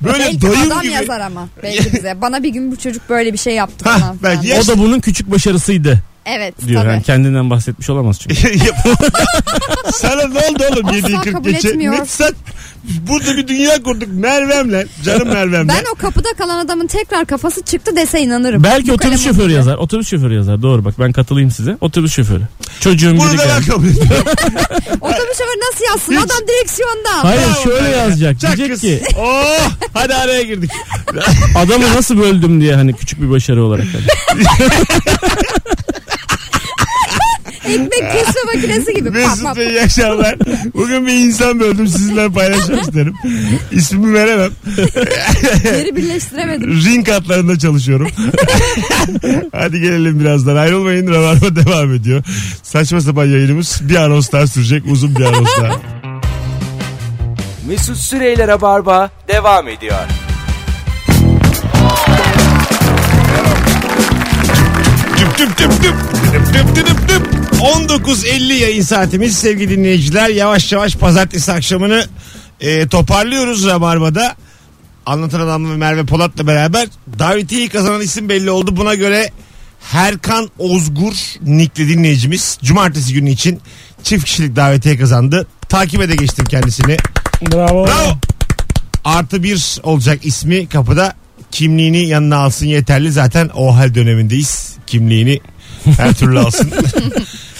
[SPEAKER 2] böyle
[SPEAKER 4] belki
[SPEAKER 2] doyum
[SPEAKER 4] adam
[SPEAKER 2] gibi.
[SPEAKER 4] yazar ama. Belki bize. Bana bir gün bu çocuk böyle bir şey yaptı
[SPEAKER 2] Hah,
[SPEAKER 4] falan.
[SPEAKER 2] belki
[SPEAKER 4] filan.
[SPEAKER 2] ya-
[SPEAKER 3] O da bunun küçük başarısıydı
[SPEAKER 4] Evet
[SPEAKER 3] diyor.
[SPEAKER 4] tabii.
[SPEAKER 3] Yani
[SPEAKER 2] [laughs]
[SPEAKER 3] kendinden bahsetmiş olamaz çünkü.
[SPEAKER 2] Sana ne oldu oğlum 7.40
[SPEAKER 4] kabul
[SPEAKER 2] geçe?
[SPEAKER 4] etmiyor.
[SPEAKER 2] Ne sen? Burada bir dünya kurduk Merve'mle. Canım Merve'mle.
[SPEAKER 4] Ben o kapıda kalan adamın tekrar kafası çıktı dese inanırım.
[SPEAKER 3] Belki
[SPEAKER 4] Bu
[SPEAKER 3] otobüs
[SPEAKER 4] kalem
[SPEAKER 3] şoförü
[SPEAKER 4] olunca.
[SPEAKER 3] yazar. Otobüs şoförü yazar. Doğru bak ben katılayım size. Otobüs şoförü. Çocuğum
[SPEAKER 2] Bunu
[SPEAKER 3] biri
[SPEAKER 2] da ben
[SPEAKER 3] geldi.
[SPEAKER 2] kabul ediyorum.
[SPEAKER 4] Otobüs şoförü nasıl yazsın?
[SPEAKER 2] Hiç.
[SPEAKER 4] Adam direksiyonda.
[SPEAKER 3] Hayır
[SPEAKER 2] Bravo
[SPEAKER 3] şöyle
[SPEAKER 2] Merve.
[SPEAKER 3] yazacak.
[SPEAKER 2] Çak
[SPEAKER 3] Diyecek
[SPEAKER 2] kız.
[SPEAKER 3] ki
[SPEAKER 4] [laughs]
[SPEAKER 2] Oh, [laughs] hadi araya girdik.
[SPEAKER 3] adamı nasıl böldüm diye hani küçük bir başarı olarak. hani.
[SPEAKER 4] Ekmek kesme makinesi gibi. pat, pat,
[SPEAKER 2] [laughs] Mesut Bey iyi akşamlar. Bugün bir insan böldüm sizinle paylaşmak
[SPEAKER 4] [laughs]
[SPEAKER 2] isterim. İsmimi veremem.
[SPEAKER 4] pat.
[SPEAKER 2] [laughs]
[SPEAKER 4] Geri birleştiremedim.
[SPEAKER 2] Ring katlarında
[SPEAKER 4] [laughs]
[SPEAKER 2] çalışıyorum. Hadi gelelim birazdan ayrılmayın. Rabarba devam ediyor. Saçma sapan yayınımız bir anons daha sürecek. Uzun bir anons daha.
[SPEAKER 1] Mesut Süreyler'e barba devam ediyor.
[SPEAKER 2] Tüp tüp tüp tüp. Tüp tüp tüp tüp tüp. 19.50 yayın saatimiz sevgili dinleyiciler. Yavaş yavaş pazartesi akşamını e, toparlıyoruz Rabarba'da. Anlatan Adam ve Merve Polat'la beraber davetiyi kazanan isim belli oldu. Buna göre Herkan Ozgur nickli dinleyicimiz cumartesi günü için çift kişilik davetiye kazandı. Takibe de geçtim kendisini.
[SPEAKER 3] Bravo.
[SPEAKER 2] Bravo. Artı bir olacak ismi kapıda. Kimliğini yanına alsın yeterli. Zaten o hal dönemindeyiz. Kimliğini her türlü alsın.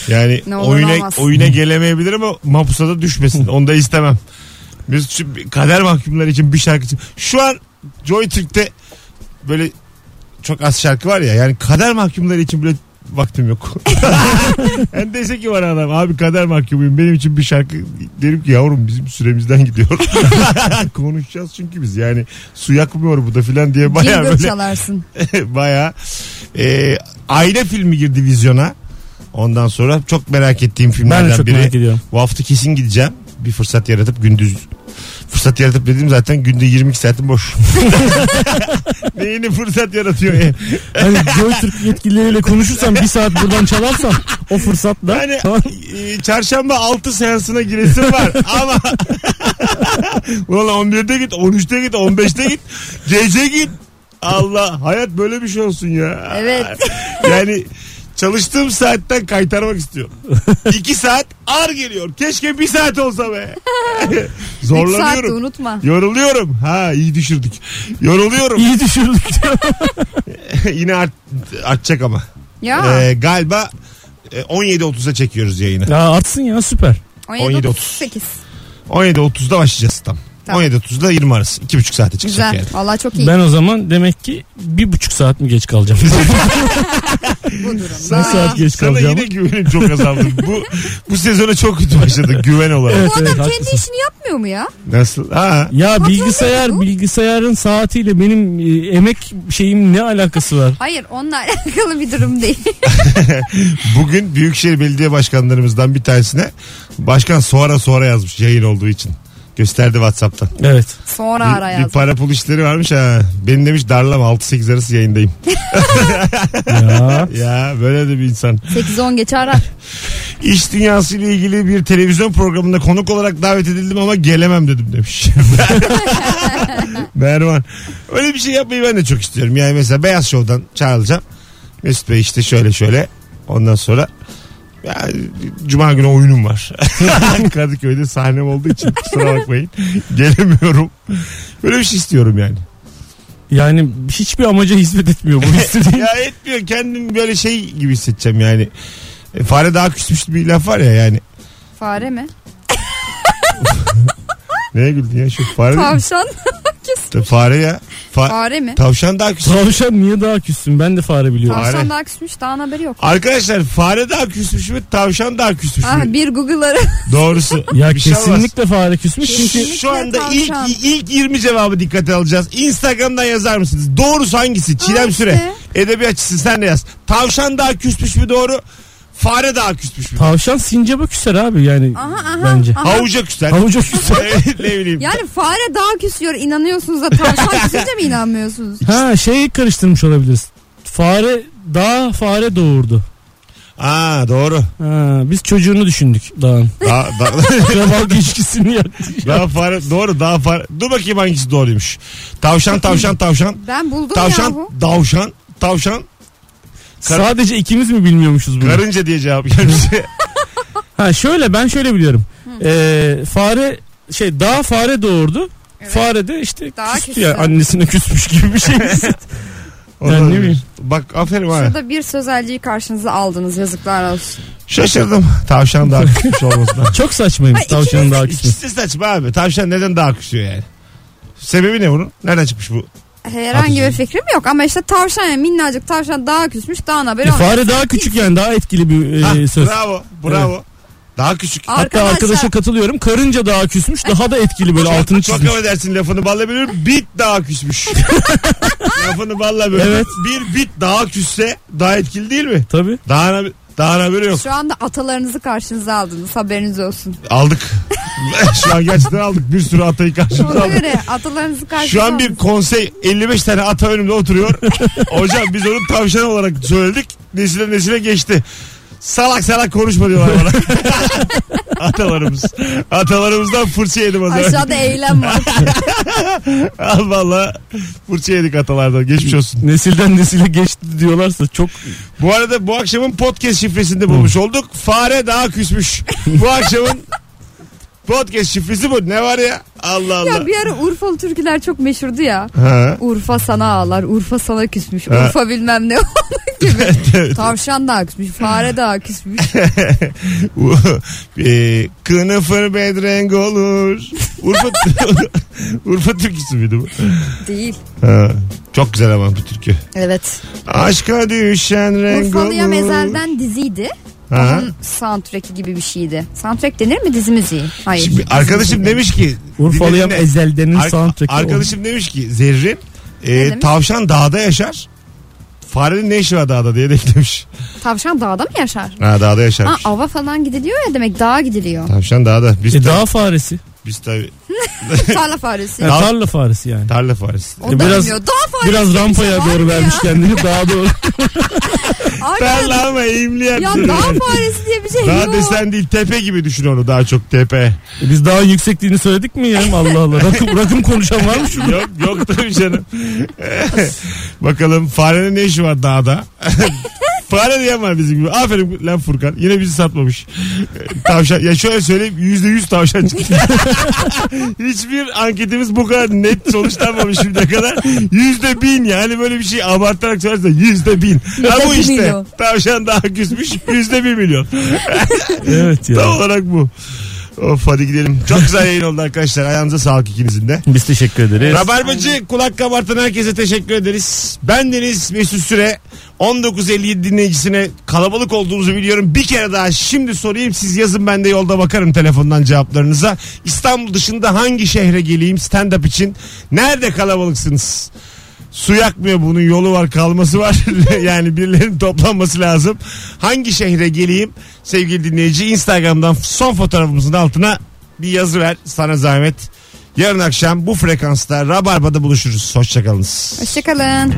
[SPEAKER 2] yani
[SPEAKER 4] Ne olur
[SPEAKER 2] oyuna,
[SPEAKER 4] olmaz.
[SPEAKER 2] oyuna gelemeyebilir ama mapusa da düşmesin. Onu da istemem. Biz şu kader mahkumları için bir şarkı için. Şu an Joy Türk'te böyle çok az şarkı var ya. Yani kader mahkumları için bile vaktim
[SPEAKER 3] [laughs]
[SPEAKER 2] yok. yani dese ki bana adam abi kader mahkumuyum benim için bir şarkı derim ki yavrum bizim süremizden
[SPEAKER 3] [laughs]
[SPEAKER 2] gidiyor. Konuşacağız çünkü biz yani su yakmıyor bu da filan diye baya
[SPEAKER 4] Jingle
[SPEAKER 2] [laughs] böyle
[SPEAKER 4] çalarsın.
[SPEAKER 2] baya e, aile filmi girdi vizyona. Ondan sonra çok merak ettiğim
[SPEAKER 3] Ben
[SPEAKER 2] filmlerden
[SPEAKER 3] de çok
[SPEAKER 2] biri.
[SPEAKER 3] merak ediyorum.
[SPEAKER 2] Bu hafta kesin gideceğim. Bir fırsat yaratıp gündüz fırsat yaratıp dedim zaten günde 22 saatim boş. [laughs] Neyini fırsat yaratıyor? E,
[SPEAKER 3] Hani Joytürk yetkilileriyle konuşursam bir saat buradan çalarsam o fırsatla.
[SPEAKER 2] Yani
[SPEAKER 3] Tamam.
[SPEAKER 2] e, çarşamba 6 seansına giresim var ama [laughs] Ulan 11'de git, 13'te git, 15'te git, gece git. Allah hayat böyle bir şey olsun ya.
[SPEAKER 4] Evet.
[SPEAKER 2] [laughs] Yani çalıştığım saatten kaytarmak istiyorum. 2 saat ağır geliyor. Keşke 1 saat olsa be.
[SPEAKER 4] 3 saatte
[SPEAKER 2] Zorlanıyorum.
[SPEAKER 4] unutma.
[SPEAKER 2] Yoruluyorum. Ha iyi düşürdük. Yoruluyorum.
[SPEAKER 3] İyi düşürdük. diyor.
[SPEAKER 2] [laughs] Yine art, artacak ama.
[SPEAKER 4] Ya
[SPEAKER 2] Ee, galiba e, 17.30'a çekiyoruz yayını.
[SPEAKER 3] ya artsın ya süper.
[SPEAKER 4] 17
[SPEAKER 2] 17.30.
[SPEAKER 4] 38.
[SPEAKER 2] 17.30'da başlayacağız tam.
[SPEAKER 4] Tamam.
[SPEAKER 2] 17.30'da 20 arası. 2,5 saate çıkacak
[SPEAKER 4] Güzel.
[SPEAKER 2] yani.
[SPEAKER 4] Valla çok iyi
[SPEAKER 3] Ben o zaman demek ki bir buçuk saat mi geç kalacağım?
[SPEAKER 4] bu
[SPEAKER 3] Bir
[SPEAKER 4] durumda.
[SPEAKER 3] saat geç
[SPEAKER 2] Sana
[SPEAKER 3] kalacağım.
[SPEAKER 2] yine güvenim çok azaldı.
[SPEAKER 3] [laughs]
[SPEAKER 2] bu bu sezona çok kötü başladı güven olarak.
[SPEAKER 3] Evet,
[SPEAKER 4] Bu adam
[SPEAKER 3] evet,
[SPEAKER 4] kendi
[SPEAKER 3] haklısın.
[SPEAKER 4] işini yapmıyor mu ya?
[SPEAKER 2] Nasıl? Ha.
[SPEAKER 3] Ya
[SPEAKER 4] Patron
[SPEAKER 3] bilgisayar
[SPEAKER 4] değil bu.
[SPEAKER 3] bilgisayarın saatiyle benim e, emek şeyim ne alakası var?
[SPEAKER 4] Hayır onunla [laughs] alakalı bir durum değil.
[SPEAKER 2] Bugün Büyükşehir Belediye Başkanlarımızdan bir tanesine başkan sonra sonra yazmış yayın olduğu için. Gösterdi Whatsapp'tan.
[SPEAKER 3] Evet.
[SPEAKER 4] Sonra ara
[SPEAKER 2] Bir, bir
[SPEAKER 4] yaz.
[SPEAKER 2] para pul işleri varmış ha. Beni demiş darlama 6-8 arası yayındayım.
[SPEAKER 3] Ya.
[SPEAKER 2] ya böyle de bir insan.
[SPEAKER 4] 8-10 geç ara.
[SPEAKER 2] İş dünyası ile ilgili bir televizyon programında konuk olarak davet edildim ama gelemem dedim demiş. Mervan. Öyle bir şey yapmayı ben de çok istiyorum. Yani mesela Beyaz Show'dan çağrılacağım. Mesut Bey işte şöyle şöyle. Ondan sonra ya, Cuma günü oyunum var. [laughs] Kadıköy'de sahnem olduğu için kusura bakmayın. Gelemiyorum. Böyle bir şey istiyorum yani.
[SPEAKER 3] Yani hiçbir amaca hizmet etmiyor bu
[SPEAKER 2] [laughs]
[SPEAKER 3] istediğin.
[SPEAKER 2] ya etmiyor. Kendim böyle şey gibi hissedeceğim yani. E, Fare daha küsmüş bir laf var ya yani.
[SPEAKER 4] Fare mi?
[SPEAKER 2] Neye güldün ya şu fare değil mi? [laughs]
[SPEAKER 4] Tavşan.
[SPEAKER 2] Ta- Fare ya. Fa-
[SPEAKER 4] Fare mi?
[SPEAKER 2] Tavşan daha küs.
[SPEAKER 3] Tavşan niye daha küssün? Ben de fare biliyorum.
[SPEAKER 2] Fare.
[SPEAKER 4] Tavşan daha küsmüş dağın haberi yok.
[SPEAKER 2] Arkadaşlar fare daha küsmüş mü tavşan daha küsmüş
[SPEAKER 4] Ah
[SPEAKER 2] mü?
[SPEAKER 4] bir Google'ları.
[SPEAKER 2] Doğrusu.
[SPEAKER 3] Ya
[SPEAKER 2] Bir şey olmaz.
[SPEAKER 3] kesinlikle fare küsmüş çünkü
[SPEAKER 4] Kesinlikle
[SPEAKER 2] Şu anda ilk,
[SPEAKER 4] tavşan.
[SPEAKER 2] ilk 20 cevabı dikkate alacağız. Instagram'dan yazar mısınız? Doğrusu hangisi? Çilem
[SPEAKER 4] işte.
[SPEAKER 2] Süre. Edebiyatçısı sen de yaz. Tavşan daha küsmüş mü doğru? Fare daha küsmüş mü?
[SPEAKER 3] tavşan sincaba küser abi yani
[SPEAKER 4] [laughs] Aha aha.
[SPEAKER 3] bence.
[SPEAKER 4] aha.
[SPEAKER 2] Havuca küser.
[SPEAKER 3] Havuca küser.
[SPEAKER 2] [laughs] ne bileyim.
[SPEAKER 4] Yani fare daha küsüyor inanıyorsunuz da tavşan küsünce mi inanmıyorsunuz?
[SPEAKER 3] Ha şeyi karıştırmış olabiliriz. Fare daha fare doğurdu.
[SPEAKER 2] Aa doğru.
[SPEAKER 3] Ha, biz çocuğunu düşündük
[SPEAKER 2] [laughs]
[SPEAKER 3] dağın.
[SPEAKER 2] Daha, daha,
[SPEAKER 3] Akrabalık ilişkisini yaptı.
[SPEAKER 2] daha fare doğru daha fare. Dur bakayım hangisi doğruymuş. Tavşan tavşan tavşan.
[SPEAKER 4] Ben buldum
[SPEAKER 2] Tavşan
[SPEAKER 4] yahu.
[SPEAKER 2] tavşan tavşan. Kar-
[SPEAKER 3] Sadece ikimiz mi bilmiyormuşuz bunu? [laughs]
[SPEAKER 2] Karınca diye cevap gelmiş.
[SPEAKER 3] Ha şöyle ben şöyle biliyorum. Ee, fare şey daha fare doğurdu.
[SPEAKER 4] Evet.
[SPEAKER 3] Fare de işte
[SPEAKER 4] Daha
[SPEAKER 3] küstü
[SPEAKER 4] küstü.
[SPEAKER 3] ya annesine küsmüş gibi
[SPEAKER 2] [laughs]
[SPEAKER 3] bir şey.
[SPEAKER 2] Ondan
[SPEAKER 3] Yani ne
[SPEAKER 2] bir-
[SPEAKER 3] bileyim.
[SPEAKER 2] Bak aferin ha.
[SPEAKER 4] Şurada bir sözelciyi karşınıza aldınız yazıklar olsun.
[SPEAKER 2] Şaşırdım. Tavşan
[SPEAKER 3] [laughs]
[SPEAKER 2] daha küçük olmasına.
[SPEAKER 3] Çok saçmaymış
[SPEAKER 4] Ay, ikimiz-
[SPEAKER 3] tavşanın daha küsmesi.
[SPEAKER 2] İkisi de saçma abi. Tavşan neden daha küçüyor yani? Sebebi ne bunun? Nereden çıkmış bu?
[SPEAKER 4] Herhangi
[SPEAKER 2] Hadi
[SPEAKER 4] bir fikrim yok ama işte tavşan yani minnacık tavşan daha küsmüş daha haberi
[SPEAKER 3] E,
[SPEAKER 4] olmuş.
[SPEAKER 3] fare daha küçük yani daha etkili bir e,
[SPEAKER 2] Ha,
[SPEAKER 3] söz.
[SPEAKER 2] Bravo. Bravo. Daha küçük.
[SPEAKER 4] Aa,
[SPEAKER 3] Hatta
[SPEAKER 4] Arkadaşlar-
[SPEAKER 3] arkadaşa katılıyorum. Karınca daha küsmüş. Daha da etkili böyle altını
[SPEAKER 2] Çok
[SPEAKER 3] çizmiş.
[SPEAKER 2] affedersin lafını balla bölüyorum. Bit daha
[SPEAKER 3] [laughs]
[SPEAKER 2] küsmüş. lafını balla bölüyorum.
[SPEAKER 3] Evet.
[SPEAKER 2] Bir bit daha küsse daha etkili değil mi?
[SPEAKER 3] Tabii.
[SPEAKER 2] Daha daha haberi yok.
[SPEAKER 4] Şu anda atalarınızı karşınıza aldınız
[SPEAKER 2] [laughs]
[SPEAKER 4] haberiniz olsun.
[SPEAKER 2] Aldık. Şu an gerçekten aldık. Bir sürü atayı karşımıza
[SPEAKER 4] Ona
[SPEAKER 2] aldık.
[SPEAKER 4] göre atalarınızı karşınıza
[SPEAKER 2] Şu an bir
[SPEAKER 4] aldınız.
[SPEAKER 2] konsey 55 tane ata önümde
[SPEAKER 4] [laughs]
[SPEAKER 2] oturuyor. Hocam biz onu tavşan olarak söyledik. Nesile nesile geçti. Salak salak konuşma diyorlar bana.
[SPEAKER 4] [laughs]
[SPEAKER 2] Atalarımız. Atalarımızdan fırça yedim az önce.
[SPEAKER 4] Aşağıda eylem var.
[SPEAKER 2] Al valla fırça yedik atalardan. Geçmiş olsun.
[SPEAKER 3] Nesilden nesile geçti diyorlarsa çok
[SPEAKER 2] Bu arada bu akşamın podcast şifresinde bulmuş olduk. Fare daha küsmüş. Bu
[SPEAKER 4] [laughs]
[SPEAKER 2] akşamın podcast şifresi bu. Ne var ya? Allah Allah.
[SPEAKER 4] ya bir ara Urfalı türküler çok meşhurdu ya. [laughs]
[SPEAKER 2] Ha.
[SPEAKER 4] Urfa sana ağlar, Urfa sana küsmüş,
[SPEAKER 2] Ha.
[SPEAKER 4] Urfa
[SPEAKER 2] [laughs]
[SPEAKER 4] bilmem ne onun gibi. Tavşan da küsmüş, fare de küsmüş.
[SPEAKER 2] [laughs] Eee, Ee, Kınıfır bedreng olur. Urfa,
[SPEAKER 3] [laughs]
[SPEAKER 2] Urfa türküsü müydü bu?
[SPEAKER 4] Değil.
[SPEAKER 2] Ha, çok güzel ama bu türkü.
[SPEAKER 4] Evet.
[SPEAKER 2] Aşka düşen renk
[SPEAKER 4] Urfalıya
[SPEAKER 2] olur.
[SPEAKER 4] mezelden diziydi.
[SPEAKER 2] Ha.
[SPEAKER 4] Onun soundtrack'i gibi bir şeydi. Soundtrack denir mi dizi müziği? Hayır.
[SPEAKER 2] Şimdi arkadaşım demiş ki
[SPEAKER 3] Urfalı'ya
[SPEAKER 2] dinlediğine-
[SPEAKER 3] Ezel'denin
[SPEAKER 2] Ar-
[SPEAKER 3] soundtrack'i. E,
[SPEAKER 2] Arkadaşım demiş ki Zerrin e,
[SPEAKER 4] demiş?
[SPEAKER 2] tavşan dağda yaşar. Farenin ne işi var dağda diye de eklemiş.
[SPEAKER 4] Tavşan dağda mı yaşar?
[SPEAKER 2] Ha dağda
[SPEAKER 4] Ha,
[SPEAKER 2] yaşarmış.
[SPEAKER 4] ava falan gidiliyor ya demek
[SPEAKER 3] [laughs]
[SPEAKER 4] dağa gidiliyor.
[SPEAKER 2] Tavşan dağda. Biz,
[SPEAKER 3] E,
[SPEAKER 2] tabii-
[SPEAKER 3] dağ faresi.
[SPEAKER 2] biz tabii
[SPEAKER 4] Tarla faresi.
[SPEAKER 3] Yani tarla faresi yani.
[SPEAKER 2] tarla faresi.
[SPEAKER 4] Onu da
[SPEAKER 3] Biraz-
[SPEAKER 4] bilmiyor. Dağ faresi.
[SPEAKER 3] Biraz rampaya
[SPEAKER 4] Abi
[SPEAKER 3] doğru
[SPEAKER 4] ya.
[SPEAKER 3] vermiş kendini. Dağa doğru.
[SPEAKER 4] Arkadaş,
[SPEAKER 2] Tarla ama imliyat.
[SPEAKER 4] ya dağ faresi diye bir şey
[SPEAKER 2] Dağ
[SPEAKER 4] yok.
[SPEAKER 2] desen değil tepe gibi düşün onu daha çok tepe.
[SPEAKER 3] E, Biz dağın yüksekliğini söyledik mi [laughs] ya? Allah Allah. Rakım, rakım konuşan var mı şurada?
[SPEAKER 2] Yok yok tabii
[SPEAKER 4] [laughs]
[SPEAKER 2] canım. Bakalım farenin ne işi var dağda? [laughs] Fare diyen var bizim gibi. Aferin lan Furkan. Yine bizi satmamış. Tavşan. Ya şöyle söyleyeyim yüzde yüz tavşan çıktı. [laughs] Hiçbir anketimiz bu kadar net sonuçlanmamış şimdiye kadar. Yüzde bin yani böyle bir şey abartarak söylerse yüzde bin. Ha bu
[SPEAKER 4] bir
[SPEAKER 2] işte.
[SPEAKER 4] milyon.
[SPEAKER 2] Tavşan daha küsmüş yüzde bir milyon.
[SPEAKER 3] Evet
[SPEAKER 2] Tam olarak bu. Of hadi gidelim. Çok güzel yayın oldu arkadaşlar. Ayağınıza sağlık ikinizin de.
[SPEAKER 3] Biz teşekkür ederiz.
[SPEAKER 2] Rabarbacı kulak kabartan herkese teşekkür ederiz. Ben Deniz Mesut Süre. 1957 dinleyicisine kalabalık olduğunuzu biliyorum. Bir kere daha şimdi sorayım siz yazın ben de yolda bakarım telefondan cevaplarınıza. İstanbul dışında hangi şehre geleyim stand up için? Nerede kalabalıksınız? Su yakmıyor bunun yolu var kalması var. [laughs] yani birilerinin toplanması lazım. Hangi şehre geleyim sevgili dinleyici? Instagram'dan son fotoğrafımızın altına bir yazı ver sana zahmet. Yarın akşam bu frekansta Rabarba'da buluşuruz. Hoşçakalınız.
[SPEAKER 4] Hoşçakalın.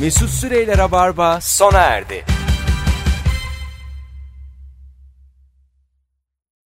[SPEAKER 1] Mesut Süreyler'e barba sona erdi.